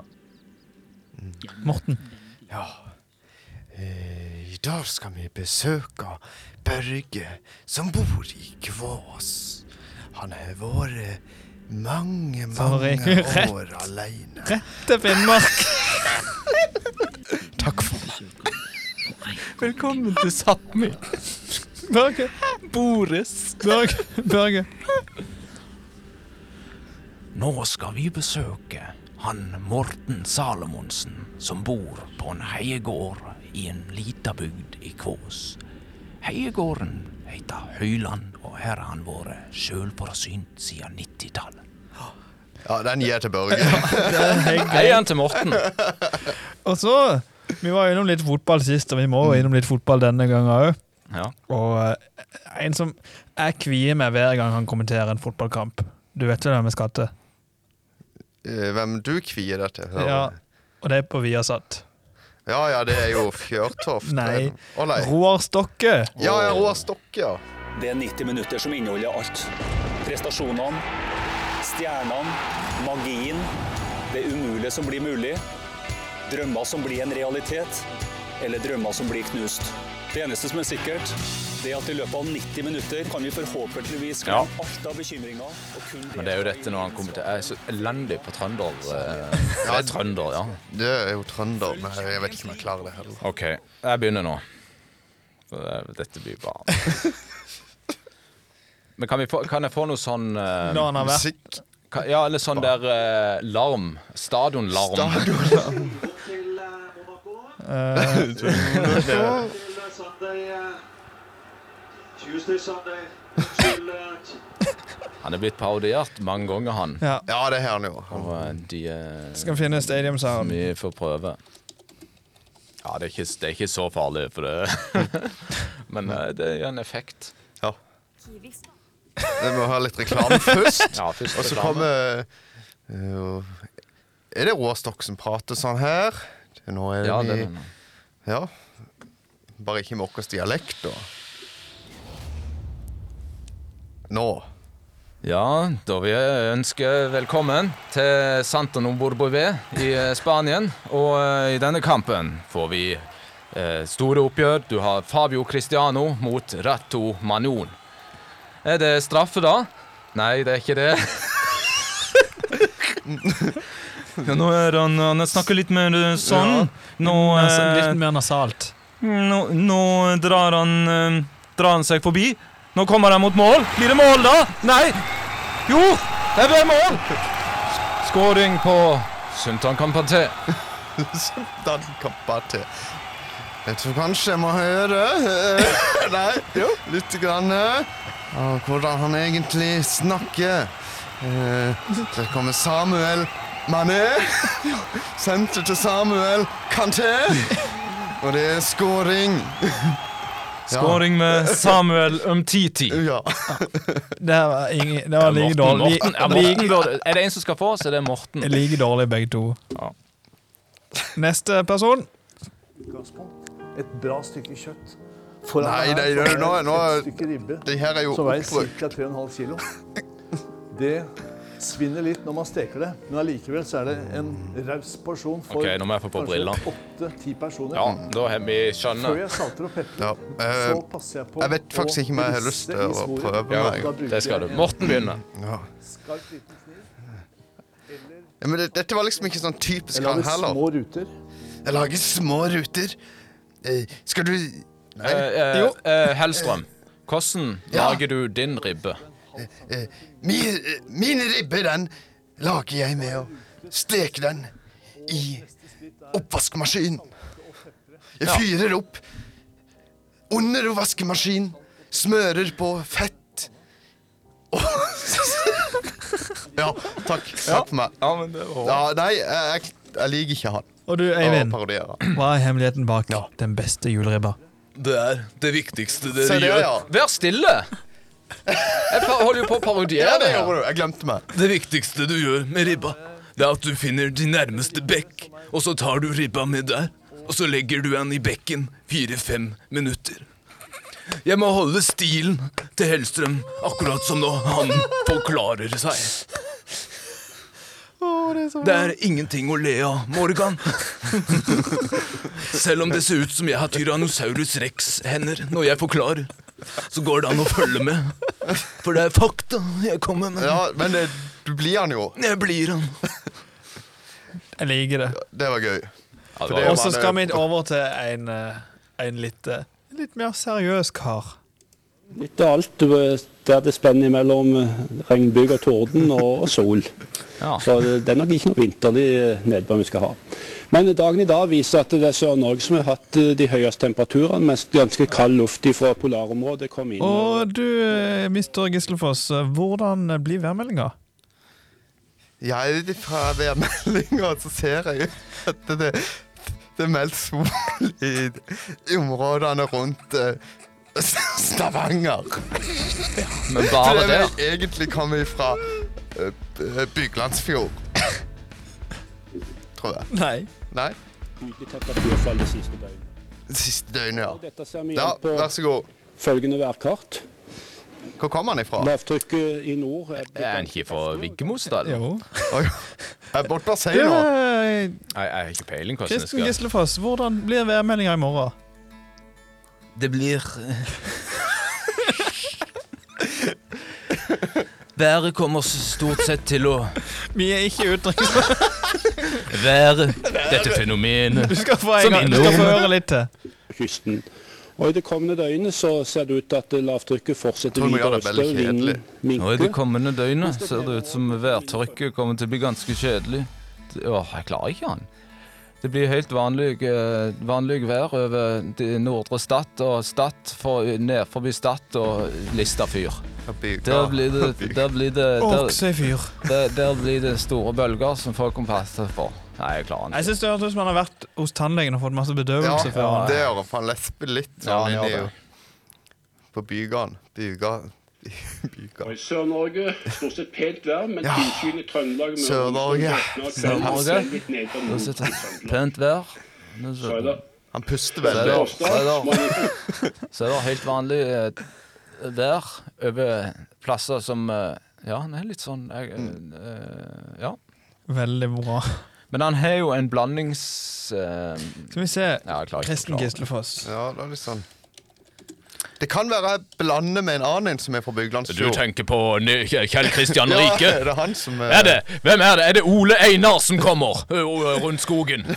[SPEAKER 1] Mm.
[SPEAKER 2] Morten.
[SPEAKER 3] I dag skal vi besøke Børge, som bor i Kvås. Han har vært mange,
[SPEAKER 2] mange rett.
[SPEAKER 3] år aleine.
[SPEAKER 2] Til Finnmark!
[SPEAKER 3] Takk for meg.
[SPEAKER 1] Velkommen til Sápmi.
[SPEAKER 2] Børge.
[SPEAKER 1] Boris.
[SPEAKER 2] Børge. Børge.
[SPEAKER 1] Nå skal vi besøke han Morten Salomonsen, som bor på en heiegård i en lita bygd i Kvås. Heiegården heter Høyland, og her har han vært sjølforsynt siden 90-tallet.
[SPEAKER 3] Ja, den gir jeg til Børge.
[SPEAKER 1] Eieren til Morten.
[SPEAKER 2] Og så Vi var innom litt fotball sist, og vi må jo innom litt fotball denne gangen òg.
[SPEAKER 1] Ja.
[SPEAKER 2] Og eh, en som Jeg kvier meg hver gang han kommenterer en fotballkamp. Du vet jo det med skatte.
[SPEAKER 3] Eh, Hvem du kvier deg til? hører
[SPEAKER 2] Ja,
[SPEAKER 3] jeg.
[SPEAKER 2] og det er på Viasat.
[SPEAKER 3] ja ja, det er jo Fjørtoft.
[SPEAKER 2] Nei.
[SPEAKER 3] Å nei.
[SPEAKER 2] Roar Stokke.
[SPEAKER 3] Ja, ja, Roar Stokke, ja.
[SPEAKER 4] Det er 90 minutter som inneholder alt. Prestasjonene, stjernene, magien, det umulige som blir mulig, drømmer som blir en realitet, eller drømmer som blir knust. Det eneste som er sikkert, det er at i løpet av 90 minutter kan vi forhåpentligvis glemme alt av bekymringer. og kun
[SPEAKER 1] Men det er jo dette når han kommer til Jeg er så elendig på trønder. Eh, jeg er trønder, ja.
[SPEAKER 3] Det er jo trønder, men jeg vet ikke om jeg klarer det heller.
[SPEAKER 1] OK, jeg begynner nå. For det- Dette blir bare Men kan, vi få, kan jeg få noe sånn eh,
[SPEAKER 2] Når han har vært
[SPEAKER 3] Musikk.
[SPEAKER 1] Ka- Ja, eller sånn der eh, larm. Stadionlarm. Han er blitt parodiert mange ganger, han.
[SPEAKER 2] ja.
[SPEAKER 3] Ja, det har han jo. Han-
[SPEAKER 1] Og eh, de eh,
[SPEAKER 2] Skal finne Stadium Sound.
[SPEAKER 1] Vi får prøve. Ja, det er ikke, det er ikke så farlig, for det Men eh, det er en effekt.
[SPEAKER 3] Ja. Vi må ha litt reklame først.
[SPEAKER 1] Ja, først
[SPEAKER 3] og så
[SPEAKER 1] reklame.
[SPEAKER 3] kommer eh, Er det Råstokk som prater sånn her? Nå er
[SPEAKER 1] Ja,
[SPEAKER 3] vi
[SPEAKER 1] det er det.
[SPEAKER 3] Ja. Bare ikke med vår dialekt, da. Nå.
[SPEAKER 1] Ja, da vil jeg ønske velkommen til Santo Nomborboive i eh, Spanien. Og eh, i denne kampen får vi eh, store oppgjør. Du har Fabio Cristiano mot Ratto Manon. Er det straffe, da? Nei, det er ikke det. ja, nå er han, han snakker litt mer eh, sånn. Nå eh,
[SPEAKER 2] Nas- altså, Litt mer nasalt.
[SPEAKER 1] nå, nå drar han eh, Drar han seg forbi. Nå kommer han mot mål. Blir det mål, da? Nei! Jo! Det ble mål! Skåring på Suntan Kampante.
[SPEAKER 3] Den kappa til. Jeg tror kanskje jeg må høre eh, Nei, jo. litt grann eh, av hvordan han egentlig snakker. Eh, Der kommer Samuel Mané. Sendte til Samuel Kanté. Og det er scoring.
[SPEAKER 1] Skåring med Samuel Umtiti.
[SPEAKER 3] Ja.
[SPEAKER 2] Det her var, ingen, det var like
[SPEAKER 1] Morten,
[SPEAKER 2] dårlig.
[SPEAKER 1] Morten, ja, Morten burde, er det en som skal få, så er det Morten.
[SPEAKER 2] Like, like dårlig begge to.
[SPEAKER 1] Ja.
[SPEAKER 2] Neste person.
[SPEAKER 11] Et bra stykke kjøtt. Foran
[SPEAKER 3] Nei,
[SPEAKER 11] meg
[SPEAKER 3] nei,
[SPEAKER 11] her så
[SPEAKER 3] nå-
[SPEAKER 11] har jeg
[SPEAKER 3] nå- nå-
[SPEAKER 11] Et stykke ribbe
[SPEAKER 3] det her er jo
[SPEAKER 11] som veier
[SPEAKER 3] opprørt.
[SPEAKER 11] ca. 3,5 kilo. Det svinner litt når man steker det, men allikevel så er det en raus porsjon for
[SPEAKER 1] Ok, nå må jeg få på brillene.
[SPEAKER 11] åtte-ti personer.
[SPEAKER 1] Ja, da har vi
[SPEAKER 11] Før
[SPEAKER 1] skjønner.
[SPEAKER 11] jeg salter og pepper,
[SPEAKER 3] Ja, eh,
[SPEAKER 11] så passer jeg på
[SPEAKER 3] jeg vet faktisk
[SPEAKER 11] å
[SPEAKER 3] ikke om jeg har lyst
[SPEAKER 11] riste
[SPEAKER 3] til å
[SPEAKER 11] i svoret.
[SPEAKER 3] prøve
[SPEAKER 11] Da
[SPEAKER 3] meg.
[SPEAKER 11] bruker
[SPEAKER 1] Det skal
[SPEAKER 11] jeg
[SPEAKER 1] du.
[SPEAKER 11] en
[SPEAKER 1] Morten begynner.
[SPEAKER 3] Ja.
[SPEAKER 11] Skarp liten kniv.
[SPEAKER 3] Ja, men det, dette var liksom ikke sånn typisk
[SPEAKER 11] Jeg
[SPEAKER 3] han
[SPEAKER 11] lager
[SPEAKER 3] heller.
[SPEAKER 11] små ruter.
[SPEAKER 3] Jeg lager små ruter. Eh, Skal du
[SPEAKER 1] Eh,
[SPEAKER 3] Nei.
[SPEAKER 1] eh,
[SPEAKER 3] Jo.
[SPEAKER 1] eh, Hellstrøm, hvordan
[SPEAKER 3] Ja.
[SPEAKER 1] lager du din ribbe?
[SPEAKER 3] Eh, Min, eh, min ribbe, den lager jeg med å steke den i oppvaskmaskinen. Jeg fyrer opp under vaskemaskinen, smører på fett og Ja, takk. Takk for meg.
[SPEAKER 1] Ja, men det var
[SPEAKER 3] Ja, nei, jeg, jeg- jeg liker ikke han.
[SPEAKER 2] Og du,
[SPEAKER 3] Å
[SPEAKER 2] Eivind.
[SPEAKER 3] parodiere han.
[SPEAKER 2] Hva er hemmeligheten bak den beste juleribba?
[SPEAKER 1] Det er det viktigste
[SPEAKER 3] Se det, ja.
[SPEAKER 1] Vær stille! Jeg pa- holder jo på å parodiere
[SPEAKER 3] Ja, det
[SPEAKER 1] det. her.
[SPEAKER 3] gjorde du. Jeg glemte meg.
[SPEAKER 12] Det viktigste du gjør med ribba, det er at du finner din nærmeste bekk, og så tar du ribba med der, og så legger du den i bekken fire-fem minutter. Jeg må holde stilen til Hellstrøm, akkurat som nå han forklarer seg. Det er ingenting å le av, Morgan. Selv om det ser ut som jeg har Tyrannosaurus rex-hender når jeg forklarer, så går det an å følge med. For det er fakta jeg kommer med.
[SPEAKER 3] Ja, men det, du blir han jo.
[SPEAKER 12] Jeg blir han.
[SPEAKER 2] Jeg liker det.
[SPEAKER 3] Det var gøy.
[SPEAKER 1] Ja, det var-
[SPEAKER 3] For det er jo
[SPEAKER 2] Og så
[SPEAKER 3] han,
[SPEAKER 2] skal
[SPEAKER 3] eh,
[SPEAKER 2] vi over til en, eh, en litt, eh, litt mer seriøs kar.
[SPEAKER 13] Litt av alt. Du, eh, Det er det spennet mellom eh, regnbyger, torden og og sol. Så eh, det det er nok ikke noe vinterlig eh, nedbør vi skal ha. Men dagen i dag viser at det er Sør-Norge som har hatt eh, de høyeste temperaturene, mens ganske kald luft fra polarområdet kom inn.
[SPEAKER 2] Og du, eh, Mr. Gislefoss, eh, hvordan eh, blir værmeldinga?
[SPEAKER 3] Jeg er fra værmeldinga, så ser jeg at det, det er meldt sol i, i områdene rundt eh, Stavanger.
[SPEAKER 1] Men bare
[SPEAKER 3] det
[SPEAKER 1] det.
[SPEAKER 3] vil jeg egentlig komme ifra eh, eh, Byglandsfjord. Tror jeg.
[SPEAKER 2] Nei.
[SPEAKER 3] Nei?
[SPEAKER 13] Tydelig temperaturfall det siste døgnet.
[SPEAKER 3] Siste døgnet, ja.
[SPEAKER 13] Dette ser vi
[SPEAKER 3] Ja,
[SPEAKER 13] igjen på
[SPEAKER 3] Vær så god.
[SPEAKER 13] følgende værkart.
[SPEAKER 3] Hvor kom han ifra?
[SPEAKER 13] Lavtrykket i nord er
[SPEAKER 1] Er han ikke fra Viggemostad? eller?
[SPEAKER 2] Jo.
[SPEAKER 3] Oi, Jeg er borte og sier
[SPEAKER 2] Du,
[SPEAKER 3] noe.
[SPEAKER 2] eh,
[SPEAKER 1] Nei, Jeg har ikke peiling hvordan det
[SPEAKER 2] Kristen
[SPEAKER 1] skal
[SPEAKER 2] Gislefoss, hvordan blir værmeldinga i morgen?
[SPEAKER 12] Det blir Været kommer s- stort sett til å
[SPEAKER 2] Vi er ikke utenriks...
[SPEAKER 12] være dette fenomenet.
[SPEAKER 2] Du skal få, en
[SPEAKER 12] Som
[SPEAKER 2] gang, du
[SPEAKER 12] innom.
[SPEAKER 2] skal få høre litt til.
[SPEAKER 13] kysten. Og I det kommende døgnet så ser det ut til at lavtrykket fortsetter
[SPEAKER 3] Tror vi gjør
[SPEAKER 13] videre
[SPEAKER 3] det veldig
[SPEAKER 13] østover.
[SPEAKER 3] kjedelig.
[SPEAKER 13] Vinden
[SPEAKER 12] Og i det
[SPEAKER 13] minker.
[SPEAKER 12] kommende døgnet ser det ut som værtørket kommer til å bli ganske kjedelig. Det- Åh, jeg klarer ikke han. Det blir helt vanlig, eh, vanlig vær over det nordre Stad og Stad for, ned forbi Stad og Listafyr. Der blir det, der blir det der,
[SPEAKER 2] Åksøyfyr.
[SPEAKER 12] der, der blir det store bølger som folk må passe seg for.
[SPEAKER 1] Nei, jeg klarer
[SPEAKER 2] Jeg syns det høres ut som han har vært hos tannlegen og fått masse bedøvelse før.
[SPEAKER 3] Ja, det har han lesper litt
[SPEAKER 2] Ja,
[SPEAKER 3] sånn
[SPEAKER 2] han
[SPEAKER 3] inni
[SPEAKER 2] gjør det.
[SPEAKER 3] På bygaen. Bygaen. Bygaen.
[SPEAKER 14] Og i Sør-Norge stort sett pent vær, men
[SPEAKER 3] Ja.
[SPEAKER 14] tilskyende Trøndelag Møre og Romsdal,
[SPEAKER 3] Sør-Norge.
[SPEAKER 14] Vestland, Sørlandet, selv litt nedbør
[SPEAKER 1] Sør-Norge.
[SPEAKER 14] mot
[SPEAKER 1] Da sitter
[SPEAKER 14] Trøndelag.
[SPEAKER 1] pent vær. Nå
[SPEAKER 14] Så er det-
[SPEAKER 3] Han puster
[SPEAKER 1] Så er
[SPEAKER 3] veldig.
[SPEAKER 1] det- Så er det- så er det helt vanlig eh, vær over plasser som eh, Ja, det er litt sånn jeg, eh, Ja.
[SPEAKER 2] Veldig bra.
[SPEAKER 1] Men han har jo en blandings... eh,
[SPEAKER 2] Skal vi se.
[SPEAKER 1] ja, jeg klarer ikke å
[SPEAKER 2] Kristen
[SPEAKER 1] forklare.
[SPEAKER 2] Gislefoss.
[SPEAKER 3] Ja, det er litt sånn. Det kan være jeg blander med en annen en som er fra
[SPEAKER 12] Du
[SPEAKER 3] Byglandsfjord.
[SPEAKER 12] tenker på Ny- Kjell Kristian
[SPEAKER 3] Ja,
[SPEAKER 12] Rike?
[SPEAKER 3] det er han som, eh,
[SPEAKER 12] er det? Hvem er det? Er det Ole Einar som kommer ø, ø, rundt skogen?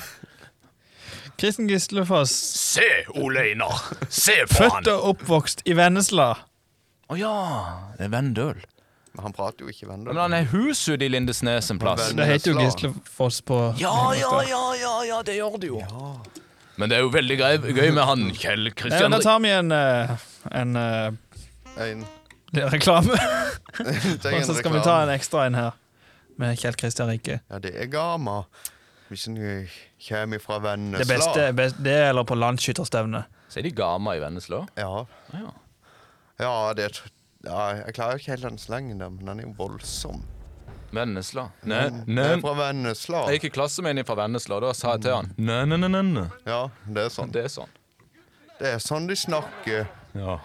[SPEAKER 2] Kristen Gislefoss.
[SPEAKER 12] Se, Ole Einar! Se på han!
[SPEAKER 2] Født og oppvokst i Vennesla.
[SPEAKER 1] Å ja. Det er Vendøl.
[SPEAKER 3] Men eh, han prater jo ikke Vendøl.
[SPEAKER 1] Men han har hus ute i Lindesnes en plass.
[SPEAKER 2] Det heter jo Gislefoss på
[SPEAKER 1] Ja, ja, ja, ja, ja, det gjør det jo.
[SPEAKER 12] Men det er jo veldig grei, gøy med han Kjell
[SPEAKER 2] Nei, men
[SPEAKER 12] Kristian
[SPEAKER 2] Da
[SPEAKER 12] Rike.
[SPEAKER 2] tar vi en eh, en, eh,
[SPEAKER 3] En.
[SPEAKER 2] det er reklame.
[SPEAKER 3] Tenk en
[SPEAKER 2] Og så skal vi
[SPEAKER 3] reklame.
[SPEAKER 2] ta en ekstra en her, med Kjell Kristian Rike.
[SPEAKER 3] Ja, det er Gama. Hvis en eh, kommer fra Vennesla
[SPEAKER 2] Det beste best, det er eller på landskytterstevne.
[SPEAKER 1] Så er de gama i Vennesla?
[SPEAKER 3] Ja.
[SPEAKER 1] Ja,
[SPEAKER 3] det er tr- ja, Jeg klarer jo ikke helt den slengen der, men den er jo voldsom.
[SPEAKER 1] Vennesla. Nei,
[SPEAKER 3] Det
[SPEAKER 1] nei.
[SPEAKER 3] er fra Vennesla.
[SPEAKER 1] Jeg gikk i klasse med en fra Vennesla, da sa jeg til han Nei, nei, nei, nei.
[SPEAKER 3] Ja, det er sånn.
[SPEAKER 1] Det er sånn.
[SPEAKER 3] Det er sånn de snakker.
[SPEAKER 1] Ja.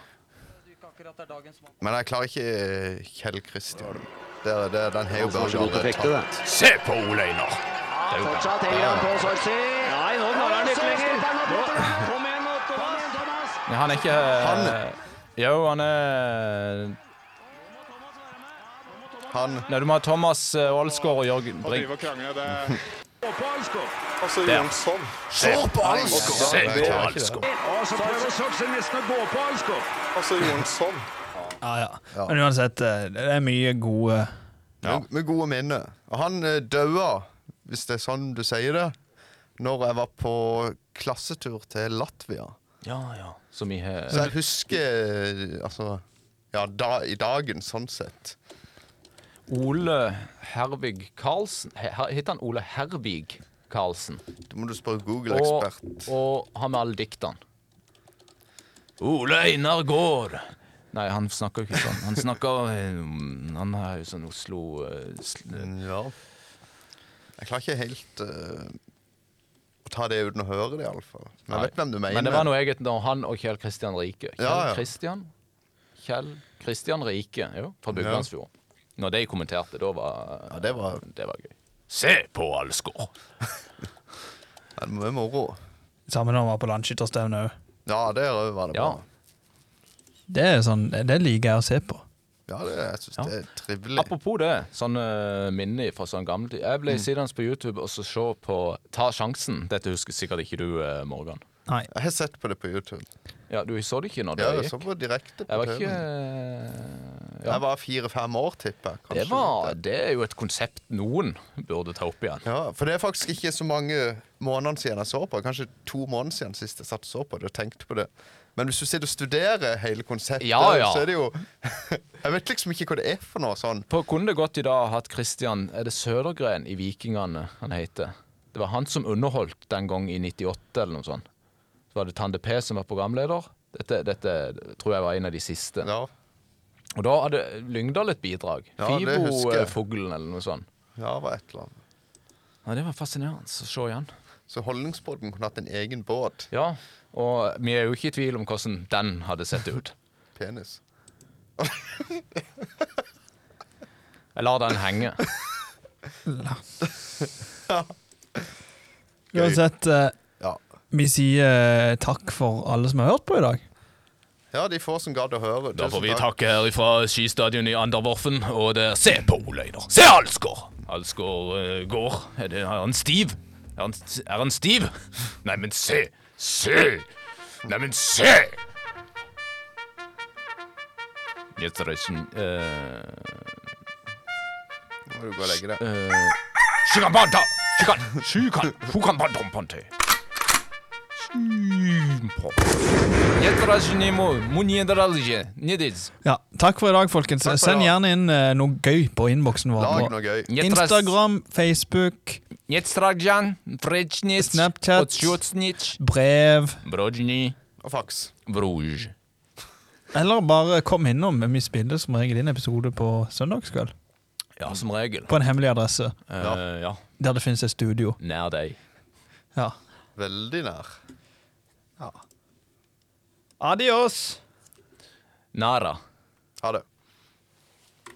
[SPEAKER 3] Men jeg klarer ikke eh, Kjell Kristian. Det er, det er, den har jo
[SPEAKER 15] Han
[SPEAKER 3] Børge
[SPEAKER 15] som er så god til å
[SPEAKER 3] allerede
[SPEAKER 15] fekte, det.
[SPEAKER 3] tatt. Se på Ole Einar! Det er jo-
[SPEAKER 15] Fortsatt henger han på Sorsi. Nei, nå klarer han det ikke lenger.
[SPEAKER 1] Men han er ikke eh,
[SPEAKER 3] Han-
[SPEAKER 1] Jo, han er
[SPEAKER 3] Han
[SPEAKER 1] Nei, du må ha Thomas eh, Aalsgaard og Jørgen Brink.
[SPEAKER 11] Altså,
[SPEAKER 1] Der.
[SPEAKER 11] Jonsson.
[SPEAKER 1] Se på Alsgaard.
[SPEAKER 11] Ja,
[SPEAKER 1] Se
[SPEAKER 11] det er
[SPEAKER 1] på
[SPEAKER 11] ikke det.
[SPEAKER 1] Alsgaard.
[SPEAKER 11] Og så prøver Sorsi nesten å gå på Alsgaard. Altså, Jonsson.
[SPEAKER 2] Ja, ja. Men uansett, eh, det er mye gode
[SPEAKER 3] Med, med gode minner. Og han eh, daua, hvis det er sånn du sier det, når jeg var på klassetur til Latvia.
[SPEAKER 1] Ja, ja. Som i eh,
[SPEAKER 3] Så jeg husker eh, altså Ja, da, i dagen, sånn sett.
[SPEAKER 1] Ole Hervig Karlsen. He- her- Heter han Ole Hervig Karlsen?
[SPEAKER 3] Da må du spørre
[SPEAKER 1] Og,
[SPEAKER 3] Google-ekspert.
[SPEAKER 1] og han med alle diktene. Ole Einar Gaard. Nei, han snakker jo ikke sånn. Han snakker eh, mm, Han er jo sånn Oslo eh, sl-
[SPEAKER 3] Ja. Jeg klarer ikke helt eh, å ta det uten å høre det, iallfall. Men jeg vet hvem du mener.
[SPEAKER 1] Men det var noe eget når han og Kjell Kristian Rike. Kjell
[SPEAKER 3] Ja, ja.
[SPEAKER 1] Kristian Kjell Kristian Rike, jo, fra
[SPEAKER 3] Ja.
[SPEAKER 1] Byglandsfjord. Når de kommenterte, da var
[SPEAKER 3] Ja, det var
[SPEAKER 1] Det var gøy.
[SPEAKER 12] Se på Alsgaard!
[SPEAKER 3] Det var moro.
[SPEAKER 2] Samme når han var på landskytterstevne òg.
[SPEAKER 3] Ja, der òg var det bra.
[SPEAKER 2] Det er sånn, det liker jeg å se på.
[SPEAKER 3] Ja, det, jeg syns det er trivelig.
[SPEAKER 1] Apropos det, sånne minner fra sånn gammel tid. Jeg ble
[SPEAKER 3] Mm.
[SPEAKER 1] sittende på YouTube og så se på Ta sjansen. Dette husker sikkert ikke du, eh, Morgan.
[SPEAKER 3] Jeg har sett på det på YouTube.
[SPEAKER 1] Ja, Du så det ikke når det
[SPEAKER 3] Ja, jeg
[SPEAKER 1] gikk?
[SPEAKER 3] så på direkte på
[SPEAKER 1] Jeg var ikke
[SPEAKER 3] TV-en.
[SPEAKER 1] ja.
[SPEAKER 3] Jeg var fire-fem år, tipper jeg. kanskje.
[SPEAKER 1] det, var, det er jo et konsept noen burde ta opp igjen.
[SPEAKER 3] Ja, For det er faktisk ikke så mange månedene siden jeg så på. Kanskje to måneder siden sist jeg satt og så på det og tenkte på det. Men hvis du sitter og studerer hele konseptet,
[SPEAKER 1] Ja, ja.
[SPEAKER 3] så er det jo Jeg vet liksom ikke hva det er for noe sånn.
[SPEAKER 1] På Kunne det gått i dag hatt Christian Er det Sødergren i Vikingene han heter? Det var han som underholdt den gang i 98 eller noe sånt. Så var det Tande P som var programleder. Dette, dette tror jeg var en av de siste. Og da hadde Lyngdal et bidrag.
[SPEAKER 3] Ja, det husker jeg.
[SPEAKER 1] Fibofuglen eller noe sånt.
[SPEAKER 3] Ja, det var et eller annet.
[SPEAKER 1] Ja, Det var fascinerende å se igjen.
[SPEAKER 3] Så Holdningsbåten kunne hatt en egen båt.
[SPEAKER 1] Ja, og vi er jo ikke i tvil om hvordan den hadde sett ut.
[SPEAKER 3] Penis.
[SPEAKER 1] Jeg lar den henge.
[SPEAKER 2] Uansett, eh,
[SPEAKER 3] Ja.
[SPEAKER 2] vi sier eh, takk for alle som har hørt på i dag.
[SPEAKER 3] Ja, de få som gadd å høre.
[SPEAKER 12] Da får
[SPEAKER 3] Tusen
[SPEAKER 12] vi
[SPEAKER 3] takk.
[SPEAKER 12] takke her ifra skistadion i Andervorfen, og det er Se på Ole Einar! Se Alsgaard! Alsgaard eh, går. Er, det, er han stiv? Er han, er han stiv? Nei, men se! Se! Nei, men se!
[SPEAKER 1] Jetzt reichen, eh,
[SPEAKER 3] Nå må du gå og legge deg.
[SPEAKER 1] eh,
[SPEAKER 12] Shikambanta! Shikan! Shikan! Shukambantompante! Shimpo.
[SPEAKER 1] Jeg
[SPEAKER 2] Ja, takk for i dag, folkens.
[SPEAKER 1] Takk for i
[SPEAKER 2] Send
[SPEAKER 1] dag.
[SPEAKER 2] gjerne inn eh, noe gøy på innboksen vår.
[SPEAKER 1] Lag
[SPEAKER 2] på
[SPEAKER 1] noe gøy.
[SPEAKER 2] Instagram, Facebook, Snapchat, brev
[SPEAKER 3] Og fax.
[SPEAKER 1] Bruj.
[SPEAKER 2] Eller bare kom innom. Vi spiller som regel inn episode på søndagskveld.
[SPEAKER 1] Ja, som regel.
[SPEAKER 2] På en hemmelig adresse.
[SPEAKER 1] Eh, Ja. ja.
[SPEAKER 2] Der det finnes et studio.
[SPEAKER 1] Nær deg.
[SPEAKER 2] Ja.
[SPEAKER 3] Veldig nær.
[SPEAKER 2] Adios!
[SPEAKER 1] Nara.
[SPEAKER 3] Ha det.